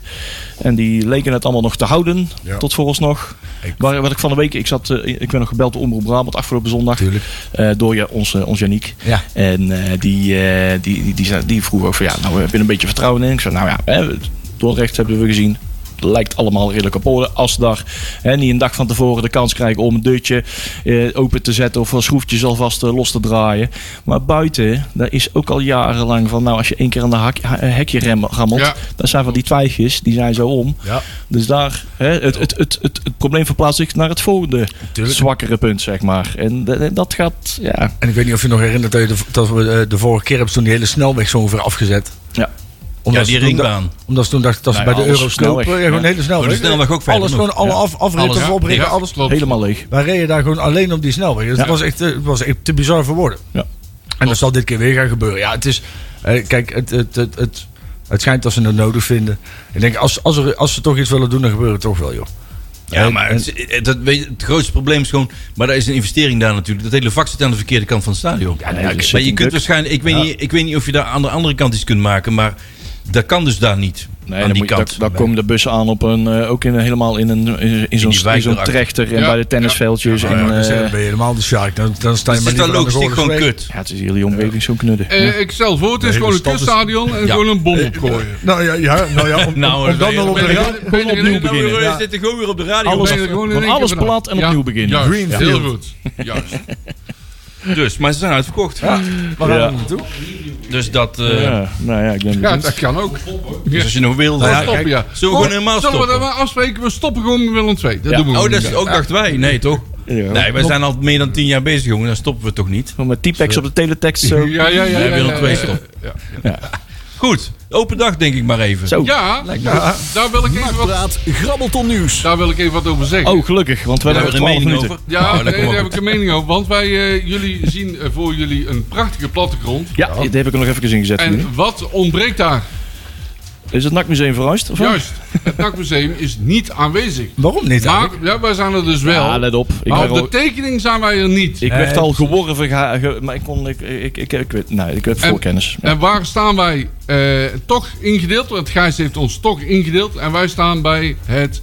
E: En die leken het allemaal nog te houden,
C: Ja.
E: tot vooralsnog. Maar wat ik van de week, ik, zat, eh, ik ben nog gebeld door Omroep Brabant afgelopen zondag,
C: Tuurlijk.
E: eh, door je, onze, ons Janiek.
C: Ja.
E: En eh, die, eh, die, die, die, zei- die vroeg ook van, ja, nou, heb je er een beetje vertrouwen in? Ik zei, nou ja, hè, Dordrecht hebben we gezien. Lijkt allemaal redelijk op orde. Als ze daar hè, niet een dag van tevoren de kans krijgen om een deurtje eh, open te zetten of wel schroefjes alvast eh, los te draaien. Maar buiten, daar is ook al jarenlang van, nou als je één keer aan de hak, ha- hekje rem, rammelt,
D: Ja.
E: dan zijn van die twijfjes, die zijn zo om.
C: Ja.
E: Dus daar, hè, het, het, het, het, het, probleem verplaatst zich naar het volgende
C: Tuurlijk.
E: zwakkere punt, zeg maar. En eh, dat gaat, ja,
C: En ik weet niet of je nog herinnert dat, je de, dat we eh, de vorige keer hebben ze toen die hele snelweg zo ongeveer afgezet.
E: ja.
B: Ja,
C: Omdat
B: die
C: ze toen da-
B: ringbaan.
C: Omdat ze toen dachten dat ze
E: Nou ja,
C: bij de
E: alles
C: euro
E: snelweg.
C: snopen. Ja, gewoon
E: Ja.
C: hele snelweg.
B: Oh, de snelweg ook verder
C: Alles
B: nog.
C: gewoon, alle
B: Ja.
C: af, afritten,
B: Alles, ja.
C: voorbreken,
D: Ja,
C: alles.
D: klopt.
E: helemaal leeg.
C: Wij reden daar gewoon alleen op die snelweg. Dus
E: Ja.
C: het, was echt, eh, het was echt te bizar voor woorden.
E: Ja.
C: En dat zal dit keer weer gaan gebeuren. Ja, het is... eh, kijk, het, het, het, het, het schijnt dat ze het nodig vinden. Ik denk, als, als, er, als ze toch iets willen doen, dan gebeurt het toch wel, joh.
B: Ja, maar het, het- het- weet je, het grootste probleem is gewoon... Maar daar is een investering daar natuurlijk. Dat hele vak zit aan de verkeerde kant van het stadion.
E: nee, dat is
B: maar je
E: zit
B: kunt
E: druk.
B: waarschijnlijk... Ik weet, niet, ik weet niet of je daar aan de andere kant iets kunt maken, maar... Dat kan dus daar niet.
E: Nee,
B: aan
E: dan
B: die
E: moet je-
B: kant. Dus
E: daar- daar komen de bussen aan op een, eh, ook in, een- helemaal in, een, in, in zo'n,
B: die wijk
E: in zo'n
B: erachter.
E: trechter en
D: Ja.
E: bij de tennisveldjes.
C: Nou
E: en,
C: ja, dan zeg-
E: eh,
C: dan ben je helemaal de shark. Dan, dan sta je
B: Dus
C: maar
B: het is dan
C: niet meer aan de
B: logisch
C: Goorlen's
B: gewoon
C: weg.
B: kut.
E: ja, het is hier die omgeving zo'n knudden.
D: Eh, Ik stel voor, het is gewoon een
C: hele stad
D: kutstadion en
B: Ja.
D: gewoon een bom opgooien.
C: Nou ja, ja, nou ja om,
B: Nou,
C: om- om dan
B: nee,
C: wel op de
B: ben ik-
C: radio...
D: ben ik- ben ik-
B: Iedereen nou weer, eh,
C: Ja.
B: zit er gewoon weer op de radio. Dus-
E: Alles
D: ben er gewoon in
E: want
D: één keer
E: alles
D: vanaf.
E: plat en
D: Ja,
E: opnieuw beginnen.
D: juist,
C: Greenfield.
D: Heel goed. Juist.
B: Dus, maar ze zijn uitverkocht.
C: Waar gaan we
E: Ja.
C: naartoe?
B: Dus dat... eh,
E: ja, nou ja, ik ben
D: Ja,
E: benieuwd.
D: dat kan ook.
B: Dus als je nog wil...
C: Nou ja,
B: dan-
C: kijk,
D: Stoppen, ja.
B: zullen we gewoon helemaal
D: Zullen we dat
B: stoppen?
D: maar afspreken? We stoppen gewoon met Willem 2. Dat
E: Ja.
D: doen we
B: Oh,
D: gewoon
B: dat is
D: niet.
B: ook dachten wij. Nee, toch?
E: Ja.
B: Nee, wij zijn al meer dan tien jaar bezig, jongen. Dan stoppen we toch niet.
E: Met T-Pex op de teletext zo.
D: Ja, ja, ja.
B: Wij
D: ja,
B: willen
D: ja,
B: twee
D: ja.
B: stoppen.
D: Ja.
B: Goed, open dag denk ik maar even.
E: Zo.
D: Ja, daar- daar wil ik even wat,
A: Praat Grabbelton Nieuws.
D: daar wil ik even wat over zeggen.
E: Oh, gelukkig, want we
B: Daar
E: hebben
B: hebben we
E: er
B: een
E: 12
B: mening
E: minuten.
B: over.
D: Ja,
B: Oh,
D: nee,
B: dat komt
D: daar
B: wel
D: heb ik
B: goed.
D: een mening over. Want wij, eh, jullie zien eh, voor jullie een prachtige plattegrond.
E: Ja, die heb ik er nog even ingezet. gezet.
D: En wat ontbreekt daar?
E: Is het NAC-museum verhuisd? Of wat?
D: Juist, het NAC-museum is niet aanwezig.
C: Waarom niet
D: Maar
C: eigenlijk?
D: ja, wij zijn er dus wel.
E: Ja, Ah, let op. Ik,
D: maar
E: werd
D: op de
E: al,
D: tekening zijn wij er niet.
E: ik werd al geworven, geha- ge- maar ik kon... Ik, ik, ik, ik weet, nee, ik heb
D: En-
E: voorkennis.
D: En waar staan wij eh, toch ingedeeld? Want Gijs heeft ons toch ingedeeld. En wij staan bij, het,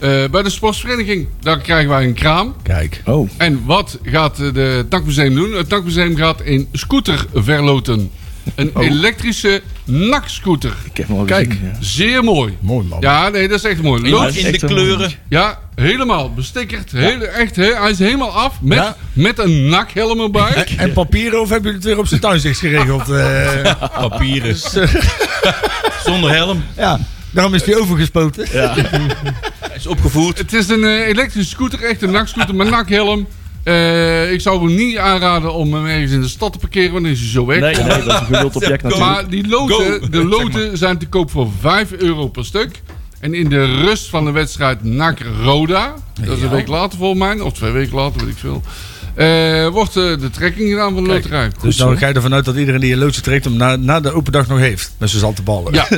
D: eh, bij de sportvereniging. Daar krijgen wij een kraam.
C: Kijk.
E: Oh,
D: En wat gaat eh, de, het NAC-museum doen? Het NAC-museum gaat een scooter verloten. Een
C: Oh.
D: elektrische NAC-scooter.
E: ik heb hem al
D: Kijk,
E: gezien. ja.
D: zeer mooi.
C: Mooi man.
D: Ja, nee, dat is echt mooi.
B: In,
D: Lood,
E: is
B: in de
E: echt een-
B: kleuren.
D: ja, helemaal bestikkerd. Hele, echt, he- hij is helemaal af met,
C: Ja.
D: met een NAC-helm erbij.
C: En papieren of hebben jullie het weer op zijn tuinzicht geregeld? Eh,
B: Papieren. Zonder helm.
C: ja, daarom is die overgespoten.
B: Hij is opgevoerd.
D: Het is een eh, elektrische scooter, echt een NAC-scooter met NAC-helm. Eh, ik zou hem niet aanraden om hem ergens in de stad te parkeren, want dan is hij zo weg.
E: Nee, nee, dat is een gewild object natuurlijk.
D: Maar die loten,
B: Go.
D: de loten zijn te koop voor 5 euro per stuk. En in de rust van de wedstrijd NAC Roda, dat is een week later volgens mij, of twee weken later, weet ik veel, eh, wordt eh, de trekking gedaan van de loterij.
C: Dus dan ga je ervan uit dat iedereen die een loodje trekt hem na, na de open dag nog heeft. Met zijn zalte ballen.
D: Ja,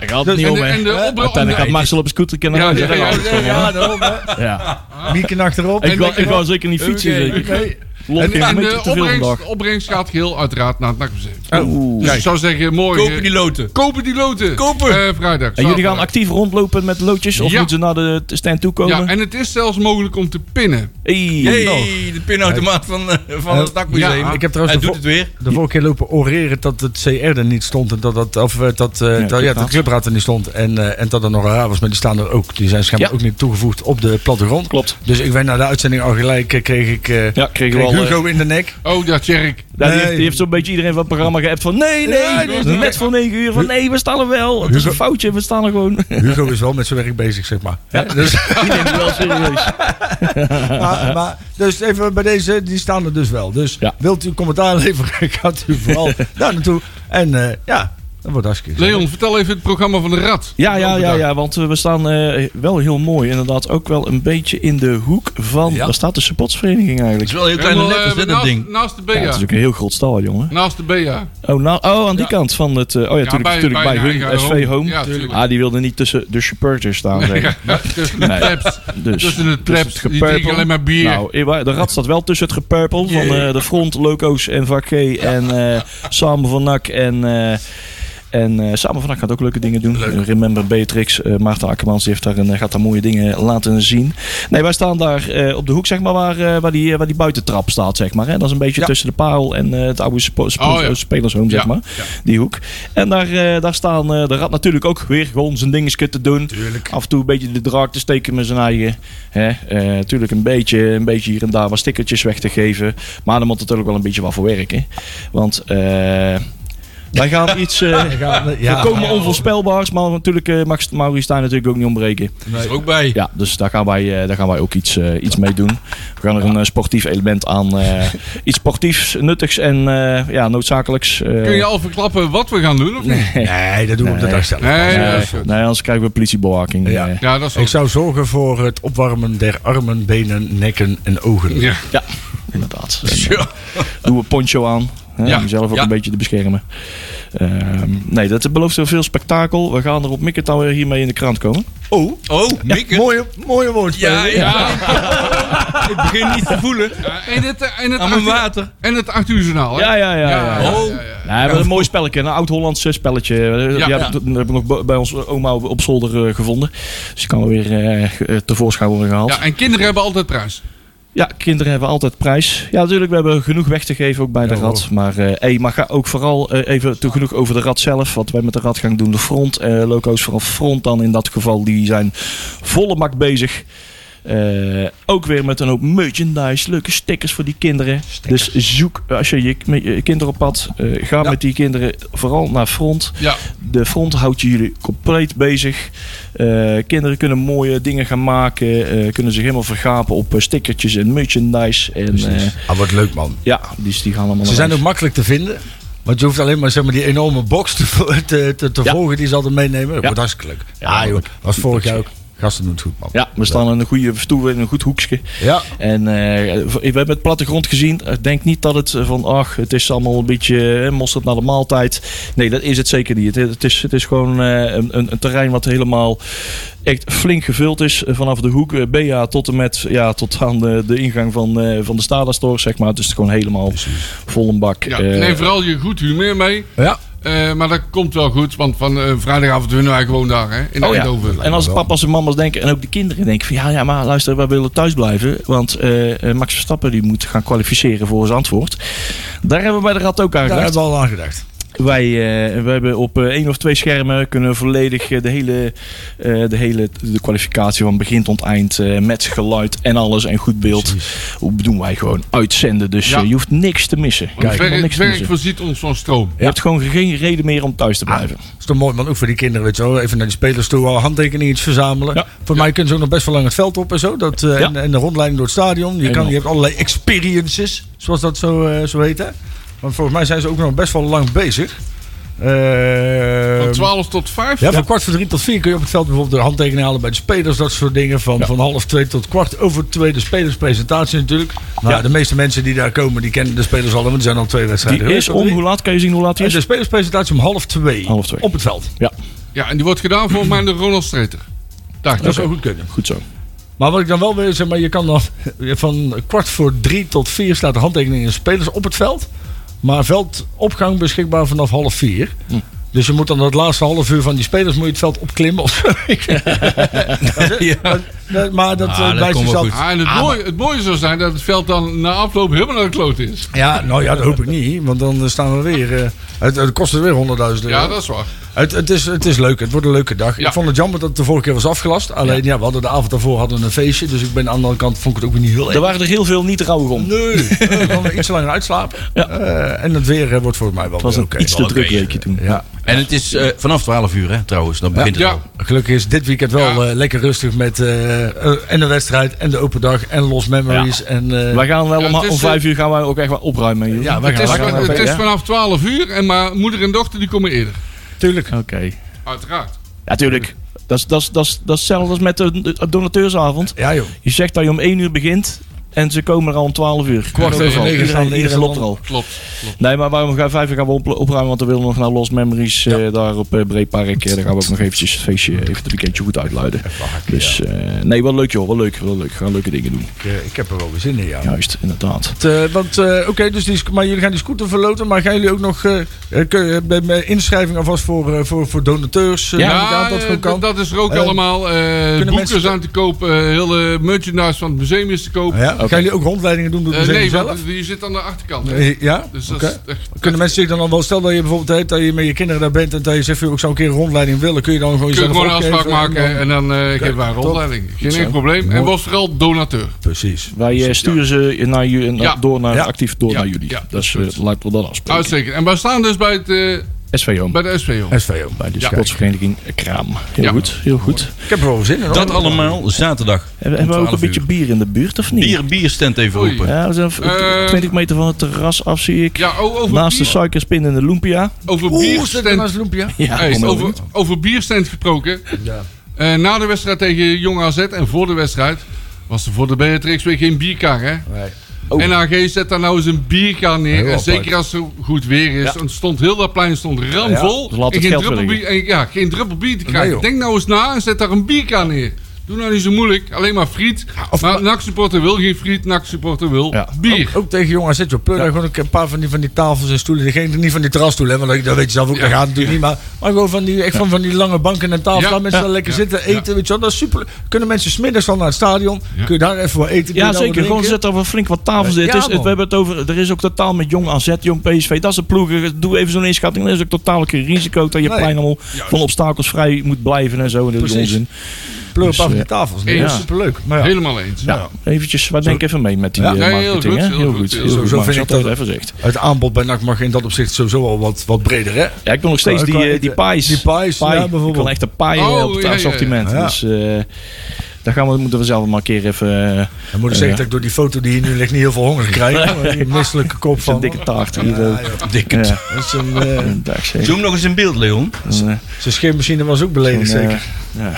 E: Ik had het
D: Dus
E: niet
D: en
E: om,
D: de,
E: hè.
D: en de opbra-
E: Eh, Uiteindelijk gaat Marcel op een scooter kunnen
D: Ja,
E: ja,
D: ja, ja, ja, ja, ja.
E: Ja.
C: Mieken achterop.
E: Ik, wou,
D: denk
E: ik
D: je
E: wou zeker niet fietsen.
C: Oké,
E: zeker.
C: oké.
E: Lol,
D: En, eh,
E: ik heb
D: en
E: een beetje
D: de
E: te veel
D: opbrengst,
E: vandaag. Eh,
D: opbrengst gaat geheel uiteraard naar het NAC-museum.
E: Oeh.
D: Dus ik zou zeggen, mooi.
B: Kopen
D: eh,
B: die loten.
D: kopen die loten.
B: Kopen.
D: Eh, vrijdag.
E: En jullie gaan
D: zaterdag.
E: actief rondlopen met loodjes? Of
D: Ja.
E: moeten ze naar de stand toe komen?
D: Ja, en het is zelfs mogelijk om te pinnen.
E: Hey.
B: Hey, de pinautomaat van, eh, van
C: Eh,
B: het nakmuseum.
D: ja,
C: ik heb
B: Hij
C: trouwens
B: doet
C: de,
B: het weer.
C: vo- de vorige keer lopen oreren dat het CR er niet stond. En dat dat, of eh, dat, eh, dat- ja, dat de
E: clubraad.
C: clubraad er niet stond. En, eh, en dat er nog raar was. Maar die staan er ook. Die zijn schijnbaar
E: Ja.
C: ook niet toegevoegd op de plattegrond.
E: Klopt.
C: Dus ik ben na de uitzending al gelijk. eh, Kreeg ik, eh,
E: Ja, kregen we
C: kreeg
E: al... eh,
C: Hugo in de nek.
D: Oh, ja, Tjerk.
E: ja, Nou, die, heeft,
C: Nee.
E: die heeft zo'n beetje iedereen van het programma geappt van... Nee,
C: Ja,
E: nee,
C: die is
E: net
D: niet gek.
E: voor negen uur. Van nee, we staan er wel. Het is een foutje, we staan er gewoon.
C: Hugo is wel met zijn werk bezig, zeg maar. Hè, Dus,
E: Die neemt het wel serieus.
C: maar, maar, dus even bij deze, die staan er dus wel. Dus
E: Ja.
C: wilt u commentaar leveren, gaat u vooral daar naartoe. En eh, ja, Dat wordt hartstikke gezellig.
D: Leon, vertel even het programma van de Rad.
E: Ja, ja, ja,
D: Bedankt.
E: ja, want eh, we staan eh, wel heel mooi inderdaad. Ook wel een beetje in de hoek van... Daar staat de supportsvereniging
B: Het
E: eigenlijk.
B: is wel heel kleine
D: Helemaal,
B: letters,
D: eh,
B: hè, dat
D: naast,
B: ding.
D: Naast de
E: Ja, het
D: BA.
E: is ook een heel groot stal, jongen.
D: Naast de BA.
E: Oh, nou, oh aan die kant van het... eh, oh ja, natuurlijk,
D: bij-
E: natuurlijk
D: bij
E: bij,
D: de
E: hun
D: eigen
E: SV
D: home.
E: Home.
D: Ja, tuurlijk.
E: ah, die wilde niet tussen de supporters staan, zeg ik.
D: Tussen de
E: Nee.
D: traps.
E: Dus,
D: Tussen de
E: dus
D: traps. Die drinken alleen maar bier.
E: Nou, eh, waar- de rat staat wel tussen het gepurpel van eh, de front, loco's en vak G en eh Sam van Nak en... eh, en eh Samen van Nak gaat ook leuke dingen doen. Eh, Remember Beatrix, eh Maarten Akkermans heeft daar een, eh, gaat daar mooie dingen laten zien. Nee, wij staan daar eh, op de hoek, zeg maar, waar, eh, waar, die, eh, waar die buitentrap staat, zeg maar. Hè? Dat is een beetje tussen de paal en eh, het oude spo- spo-
D: Oh, ja.
E: spelershome, zeg
D: Ja,
E: maar. Die hoek. En daar, eh, daar staan eh, de rat natuurlijk ook weer gewoon zijn dingetje te doen. Af en toe een beetje de draak te steken met zijn eigen. Hè? Eh, tuurlijk een beetje, een beetje hier en daar wat stickertjes weg te geven. Maar dan moet natuurlijk wel een beetje wat voor werken. Want... eh, wij gaan iets eh,
C: ja.
E: voorkomen onvoorspelbaars, maar natuurlijk eh, mag Mauristijn natuurlijk ook niet ontbreken.
B: Die is er ook bij.
E: Ja, dus daar gaan wij, eh, daar gaan wij ook iets, eh, iets mee doen. We gaan er een eh, sportief element aan. eh, iets sportiefs, nuttigs en eh, ja, noodzakelijks. eh,
D: Kun je al verklappen wat we gaan doen of niet?
C: Nee, dat doen we op de dag zelf.
D: Nee,
E: nee,
D: dat is goed.
E: eh, nee, anders krijgen we politiebewaking.
C: Ja.
E: eh.
D: Ja, dat is
C: Ik
D: goed.
C: zou zorgen voor het opwarmen der armen, benen, nekken en ogen.
D: Ja.
E: Ja, inderdaad. En, eh, doen we poncho aan. Hè,
B: Ja,
E: Om jezelf ook
B: ja.
E: een beetje te beschermen. Ehm, nee, dat belooft heel veel spektakel. We gaan er op Mikketown weer hiermee in de krant komen.
C: Oh,
B: Oh, Mikke.
C: mooie, mooie woordspel.
B: Ja, ja. Ik begin niet te voelen
D: Ja, En het, eh, en het,
B: aan
D: acht,
B: mijn
D: uur-
B: water.
D: en het acht uur journaal. hè?
E: Ja, ja, ja. ja, ja.
B: Oh,
E: Nee, we hebben een mooi spelletje, een oud-Hollands eh, spelletje. Ja,
D: Ja,
E: die
D: ja.
E: hebben- dat hebben we nog bo- bij ons oma op op zolder eh, gevonden. Dus die kan er weer eh, ge- eh, tevoorschijn worden gehaald.
D: Ja,
E: Ja.
D: en kinderen hebben altijd prijs.
E: kinderen hebben altijd prijs. Ja, natuurlijk, we hebben genoeg weg te geven ook bij de rat. Maar eh hey, maar ga ook vooral eh, even te genoeg over de rat zelf. Wat wij met de rat gaan doen, de front. eh, loco's vooral front dan in dat geval. Die zijn volle mak bezig. Eh, ook weer met een hoop merchandise, leuke stickers voor die kinderen. Dus zoek, als je je, met je kinderen op pad, eh, ga met die kinderen vooral naar front.
D: Ja.
E: De front houdt jullie compleet bezig. Eh, kinderen kunnen mooie dingen gaan maken. eh, kunnen zich helemaal vergapen op eh, stickertjes en merchandise. En, eh,
C: Ah, wat leuk man.
E: ja, dus die gaan allemaal
C: Ze
E: naar
C: zijn
E: huis.
C: ook makkelijk te vinden. Want je hoeft alleen maar, zeg maar die enorme box te, vo- te, te, te
E: Ja.
C: volgen die ze altijd meenemen. Dat wordt hartstikke leuk. Ja, joh. Was vorig jaar ook. Gasten doen het goed, man.
E: Ja, we staan in een goede stoel, in een goed hoekje.
C: Ja.
E: En eh, we hebben het plattegrond gezien. Ik Denk niet dat het eh, van, ach, het is allemaal een beetje eh, mosterd naar de maaltijd. Nee, dat is het zeker niet. Het, het is, het is gewoon eh, een, een, een terrein wat helemaal echt flink gevuld is. Eh, Vanaf de hoek eh, BA tot en met, ja, tot aan de, de ingang van, eh, van de Stadastor, zeg maar. Dus Het is gewoon helemaal vol een bak.
D: Ja.
E: Eh,
D: Neem vooral je goed humeur mee.
C: Ja.
D: Eh, maar dat komt wel goed, want van eh, vrijdagavond winnen wij gewoon daar hè, in
E: Oh ja.
D: Eindhoven.
E: En als papa's en mama's denken, en ook de kinderen denken van ja, ja maar luister, wij willen thuis blijven. Want eh, eh, Max Verstappen die moet gaan kwalificeren voor zijn antwoord. Daar hebben we bij de rat ook aan
C: Daar
E: gedacht.
C: hebben we al aan gedacht.
E: Wij, eh, wij hebben op eh, één of twee schermen kunnen we volledig eh, de hele, eh, de hele de kwalificatie van begin tot eind eh, met geluid en alles en goed beeld. Hoe doen wij gewoon uitzenden. Dus
D: Ja.
E: eh, je hoeft niks te missen.
D: Want het
E: Helemaal
D: werk,
E: niks
D: het
E: te
D: werk
E: missen.
D: voorziet ons van stroom.
E: Je hebt gewoon geen reden meer om thuis te blijven.
C: Dat is toch mooi, man. Ook voor die kinderen, weet je wel. Even naar die spelers toe, al handtekeningen iets verzamelen.
E: Ja.
C: Voor mij kunnen ze ook nog best wel lang het veld op en zo. Dat, eh,
E: Ja.
C: en, en de rondleiding door het stadion. Je, kan,
E: Helemaal.
C: je hebt allerlei experiences, zoals dat zo, eh, zo heet, hè. Want volgens mij zijn ze ook nog best wel lang bezig. Eh,
D: Van 12 tot 5.
C: Ja, van kwart voor drie tot vier kun je op het veld bijvoorbeeld de handtekeningen halen bij de spelers. Dat soort dingen. Van, van half twee tot kwart over twee. De spelerspresentatie natuurlijk. Maar
E: Ja.
C: de meeste mensen die daar komen, die kennen de spelers al. Want er zijn al twee wedstrijden
E: Die is om, hoe laat kan je zien hoe laat die
C: is
E: is?
C: de spelerspresentatie om half twee,
E: Half twee.
C: op het veld.
E: Ja,
D: Ja, en die wordt gedaan volgens mij door Ronald Streeter. Dacht
C: Dat
D: ik.
C: zou goed kunnen.
E: goed zo.
C: Maar wat ik dan wel wil zeg maar je kan dan van kwart voor drie tot vier staat de handtekening in de spelers op het veld. Maar veldopgang beschikbaar vanaf half vier.
B: Hm.
C: Dus je moet dan dat laatste half uur van die spelers moet je het veld opklimmen. Of zo. Ik- Dat is- Maar- Maar dat
B: Ah,
C: eh,
B: dat
C: blijft
B: komt wel
C: jezelf.
B: goed.
D: Ah, en het, mooie, het mooie zou zijn dat het veld dan na afloop helemaal naar de kloot is.
C: Ja, nou ja, dat hoop ik niet. Want dan eh, staan we weer. eh, het, het kost er weer 100.000 euro.
D: Ja, dat is waar.
C: het, het, is, het is leuk. Het wordt een leuke dag.
D: Ja.
C: Ik vond het jammer dat het de vorige keer was afgelast. Alleen ja, we hadden de avond daarvoor hadden we een feestje. Dus ik ben aan de andere kant vond ik het ook weer niet heel
E: Er
C: erg.
E: waren er heel veel niet rouwig om.
C: Nee, eh, ik kan er iets langer uitslapen. Eh, en het weer eh, wordt volgens mij wel
E: Het was
C: weer
E: een
C: oké.
E: iets te
B: Oké.
E: druk weekje toen.
C: Ja.
B: En het is eh, vanaf 12 uur, hè, trouwens. Dan begint het
D: Ja,
B: al.
C: Gelukkig is dit weekend wel eh, lekker rustig met eh, eh, en de wedstrijd en de open dag en Lost Memories. En, eh,
E: Wij gaan wel
D: Ja,
E: om,
D: het is,
E: om vijf
D: eh,
E: uur gaan wij ook echt wel opruimen. joh.
C: ja, wij
D: het
C: gaan,
D: is,
C: wij gaan
D: het
C: wel-
D: is
C: ja.
D: vanaf 12 uur, en maar moeder en dochter die komen eerder.
C: Tuurlijk.
E: Oké.
D: Uiteraard.
E: Ja, tuurlijk. Dat is, dat, is, dat, is, dat is hetzelfde als met de de donateursavond.
C: Ja, joh.
E: Je zegt dat je om 1 uur begint en ze komen er al om 12 uur.
D: Kwart
E: In elk
D: over
E: geval,
D: negen
E: Iedereen,
C: staan de
E: iedereen
C: eerste
E: loopt er al.
D: Klopt. klopt.
E: Nee, maar waarom gaan vijf uur gaan we op, opruimen? Want we willen nog naar Lost Memories eh, daar op eh Breepark. Eh, daar gaan we ook nog eventjes het feestje, even het weekendje goed uitluiden. Dus eh, nee, wel leuk joh, wel leuk, wel leuk. We gaan leuke dingen doen.
C: Ik, eh, ik heb er wel weer zin in, ja.
E: Juist, inderdaad.
C: Eh, want, eh, oké, dus die, sc- maar jullie gaan die scooter verloten, maar gaan jullie ook nog eh, eh, kun je- bij bij inschrijving alvast voor, eh, voor, voor donateurs? eh,
E: Ja,
C: neem ik aan dat dat
D: eh,
C: gewoon kan.
D: dat is er ook
C: Eh,
D: allemaal. eh boeken
C: mensen-
D: zijn te koop. eh, hele merchandise van het museum is te koop.
C: Ja, Gaan jullie ook rondleidingen doen door
D: Eh,
C: de museum
D: nee,
C: zelf?
D: want die zit aan de achterkant. hè.
C: Eh, ja?
D: Dus
C: Oké.
D: dat is echt-
C: Kunnen mensen zich dan al wel, stel dat je bijvoorbeeld hè, dat je met je kinderen daar bent en dat je zegt, van, joh, ik zou een keer een rondleiding willen, kun je dan gewoon
D: Kun je
C: jezelf
D: gewoon een afspraak
C: opgeven en
D: maken
C: dan-
D: en dan eh geven wij een
C: top.
D: rondleiding. Geen
E: Zo.
D: enkel probleem. En was vooral donateur.
C: Precies.
E: Wij eh, sturen ze naar, ju- naar-
D: Ja.
E: door naar,
C: Ja.
E: actief door
D: Ja.
E: naar jullie.
D: Ja,
E: Dat is, eh,
D: goed.
E: laten we dat afspreken.
D: Uitstekend. En wij staan dus bij, het, eh,
E: SVO.
D: bij de SPO.
C: SVO.
E: Bij de
D: Ja.
E: sportsvereniging Kraam. Heel
D: Ja.
E: goed, heel goed.
C: Ik heb er wel weer zin in. hoor.
B: Dat allemaal zaterdag.
E: Hebben, hebben we ook een beetje bier in de buurt of niet?
B: Bier, bierstand even
D: Oei.
B: open.
E: Ja, we zijn op
D: Eh.
E: 20 meter van het terras af zie ik.
D: Ja, o- over
E: Naast de
D: bier,
E: suikerspin en de lumpia.
D: over
C: Oeh, zit er nou
D: bierstand,
C: naast Loempia?
E: Ja,
D: Hey,
E: kom maar
D: over,
E: door.
D: over bierstand gesproken.
C: Ja.
D: Eh, na de wedstrijd tegen Jong AZ en voor de wedstrijd was er voor de Beatrix weer geen bierkar. Hè?
C: Nee.
E: Oh.
D: NAG zet daar nou eens een bierkar neer.
C: Heel
D: en
C: apart.
D: zeker als het zo goed weer is. Want stond heel dat plein stond ramvol.
E: Ja, dus laat
D: en
E: het
D: geen
E: geld
D: druppel
E: weer
D: bier, en, ja, geen druppel bier te krijgen.
C: joh.
D: Denk nou eens na en zet daar een bierkar neer. Doe nou niet zo moeilijk. Alleen maar friet.
C: of-
D: maar NAC-supporter wil geen friet. NAC-supporter wil
E: Ja.
D: bier.
C: Ook tegen jongen zet je op pleur. Gewoon een paar van die, van die tafels en stoelen. Geen, niet van die terrasstoelen, hè, want dat- dat weet je zelf ook. Dat gaat natuurlijk niet. Maar, maar gewoon van die, echt van, van die lange banken en tafels.
D: Ja.
C: Waar mensen
D: Ja.
C: dan lekker
D: Ja.
C: zitten, eten. Weet je wel. Dat is super. Kunnen mensen smiddags al naar het stadion.
D: Ja.
C: Kun je daar even wat eten. kun
E: Ja,
D: nou
C: je daar
E: zeker.
C: wat
E: Gewoon
C: drinken.
E: zet er wel flink wat tafels
C: Ja,
E: in. Het is,
C: man.
E: we hebben het over, er is ook totaal met jong AZ, jong PSV. Dat is een ploeg. Doe even zo'n inschatting. Er is ook totaal geen risico dat je
C: Nee.
E: plein allemaal van obstakels vrij moet blijven en zo. En dat is
C: Precies.
E: onzin.
C: Pleur op
E: Dus,
C: af die
E: eh,
C: tafels.
D: ja.
C: Dat is superleuk. Maar ja.
D: Helemaal eens.
E: Ja, eventjes, wij denken even mee met die
C: Ja.
E: eh,
D: Ja, heel
E: marketing.
D: goed,
E: hè?
D: heel
E: Heel
D: goed.
E: goed.
D: Zo-
E: Heel
C: zo
E: goed.
C: vind
E: Maar
C: ik
E: ik had
C: dat-
E: dat even gezegd.
C: Het aanbod bij NAC mag in dat opzicht sowieso al wat, wat breder, hè?
E: Ja, ik wil nog steeds
C: Qua-
E: die,
C: qua
E: eh, die
C: eten.
E: pies.
C: Die pies,
E: Pie.
C: ja,
E: Ik
C: bijvoorbeeld.
E: wil echt een pie eh,
D: Oh,
E: op het
D: ja, ja,
E: assortiment.
C: ja.
E: Dus eh, daar gaan we, moeten we zelf maar een keer even... eh,
C: Dan moet ik
E: Ja.
C: zeggen dat ik door die foto die hier nu ligt niet heel veel honger krijg. maar Die misselijke kop
E: zo'n
C: van.
E: dikke taart. hier,
C: Ja,
E: eh,
C: joh.
B: Dikke.
E: ja.
C: Dat is een, eh,
E: Een dag zeg.
B: Doe hem nog eens in beeld, Leon.
E: Een, eh,
C: zijn scheermachine was ook
E: een,
C: beledigd,
E: eh,
C: zeker. Dus
E: ja.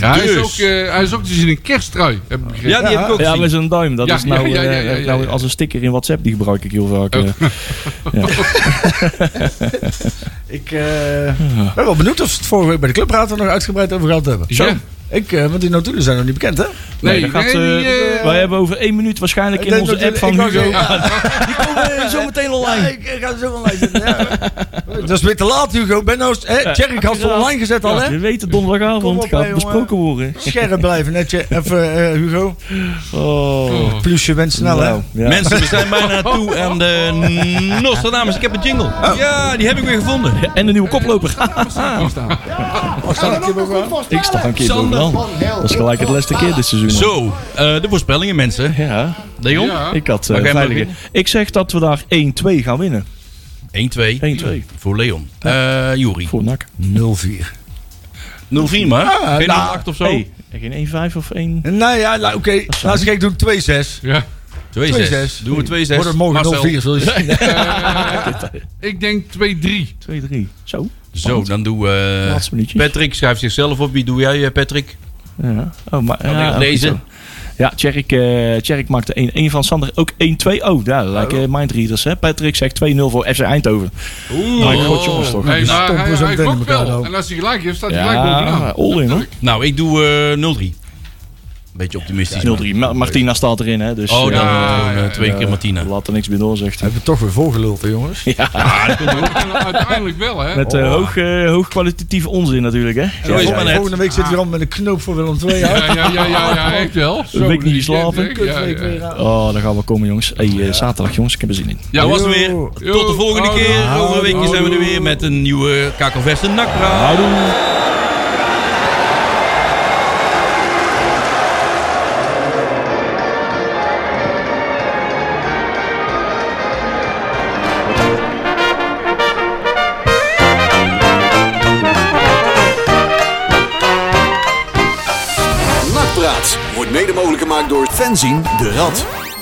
D: Ja, hij, is
B: Dus.
D: ook, eh, hij is ook te zien in een kersttrui. Heb ik begrepen.
B: Ja, die heb ik ook
E: Ja,
B: gezien.
E: met zo'n duim. Dat
D: Ja,
E: is nou,
D: ja, ja,
E: eh,
D: ja, ja,
E: nou
D: ja.
E: als een sticker in WhatsApp. Die gebruik ik heel vaak. eh.
C: Ik eh, ben wel benieuwd of ze het vorige week bij de clubraad er nog uitgebreid over gehad hebben.
D: Ja.
C: Zo. Ik, eh, want die notulen zijn nog niet bekend, hè?
E: Nee,
D: Nee,
E: dat gaat,
D: nee, die,
E: eh,
D: eh,
E: wij hebben over één minuut waarschijnlijk in
C: Nee,
E: onze
C: natuurlijk,
E: app van
C: ik wou
E: Hugo.
C: zeggen,
E: Die komen eh, zo meteen
C: Ja,
E: online.
C: ik, ik ga er zo online zetten. ja. Dat is weer te laat, Hugo. Ben nou, eens- hè, Jerry, ik had ze online gezet al,
E: Ja,
C: hè?
E: je weet het,
C: Kom
E: donderdagavond
C: op,
E: gaat
C: hè, jongen.
E: besproken worden.
C: Scherp blijven, netje. Even, eh, Hugo.
E: Oh.
D: Oh.
C: Plusje bent snel, hè?
E: Nou, ja.
B: Mensen, we zijn bijna toe aan de Nostradamus. Ik heb een jingle.
C: Ah.
B: Ja, die heb ik weer gevonden.
E: En de nieuwe koploper. Ik sta een keer
B: Sander
E: bovenaan. Dat is gelijk het laatste keer dit seizoen.
B: Zo, eh, de voorspellingen, mensen.
E: Ja,
B: Leon?
D: Ja.
E: ik had eh,
B: Mag jij maar
E: veilige-
B: beginnen?
E: Ik zeg dat we daar 1-2 gaan winnen.
B: 1-2
E: 1-2
B: voor Leon. Eh Juri.
E: voor NAC.
C: 0-4.
B: 0-4 maar.
C: Ah,
B: Geen
C: nou,
B: 8 of zo.
E: Hey, geen 1-5 of 1...
C: Nou ja, la- oké. Laat ik doen 2-6.
D: Ja.
B: 2-6.
C: 2-6.
B: Doen we 2-6.
C: Wordt het morgen
B: Marcel.
C: 0-4, zul je zien.
D: Ik denk 2-3.
E: 2-3. Zo,
B: Zo, dan doen we... eh,
E: laatste minuutje.
B: Patrick schrijft zichzelf op. Wie doe jij, eh, Patrick?
E: Ja. Oh, maar,
B: Kan ik
E: ja,
B: het
E: ook
B: lezen?
E: zo. Ja, Tjerk, eh Tjerk maakte 1-1 van Sander. Ook 1-2. Oh, ja, dat lijken mindreaders. Hè? Patrick zegt 2-0 voor FC Eindhoven.
D: Oeh.
E: Maar god, jongens, toch.
D: Hey, maar
C: Oh. stompen
D: hij,
C: zo
D: hij
C: meteen
D: gokt
C: in elkaar
D: wel.
C: ook.
D: En als hij gelijk heeft, staat hij gelijk
E: Ja,
D: bovenaan.
E: all in hoor.
B: Nou, ik doe eh, 0-3. Beetje optimistisch.
E: 0-3. Ma- Martina staat erin, hè. Dus,
B: Oh, dan
E: eh,
D: Ja,
B: gewoon, eh,
D: ja,
B: twee keer Martina.
E: Laat er niks meer door, zegt hij.
C: Hebben we toch weer volgeluld, hè, jongens?
E: Ah,
D: En Uiteindelijk wel, hè?
E: Met eh, hoog, eh, hoogkwalitatieve onzin natuurlijk, hè.
B: Zo is het maar
C: Volgende,
B: net.
C: volgende week zit hij al met een knoop voor Willem II.
D: Ja,
C: Ja.
D: ja, ja, ja, ja, echt wel. Zo,
E: week niet
D: die-
E: geslapen.
D: die- Ja,
C: Kutweek
D: ja.
C: weer aan.
E: Oh, daar gaan we komen, jongens. Hey, eh, zaterdag, jongens. Ik heb er zin in.
B: Ja, was het weer.
C: Yo.
B: Tot de volgende
D: Yo. Oh, nou,
B: keer. Over een weekje zijn we er
D: Houdoe.
B: weer met een nieuwe Kakelverse Nakpraat.
E: Houdoe.
A: Nakpraat wordt mede mogelijk gemaakt door fanzine de Rad.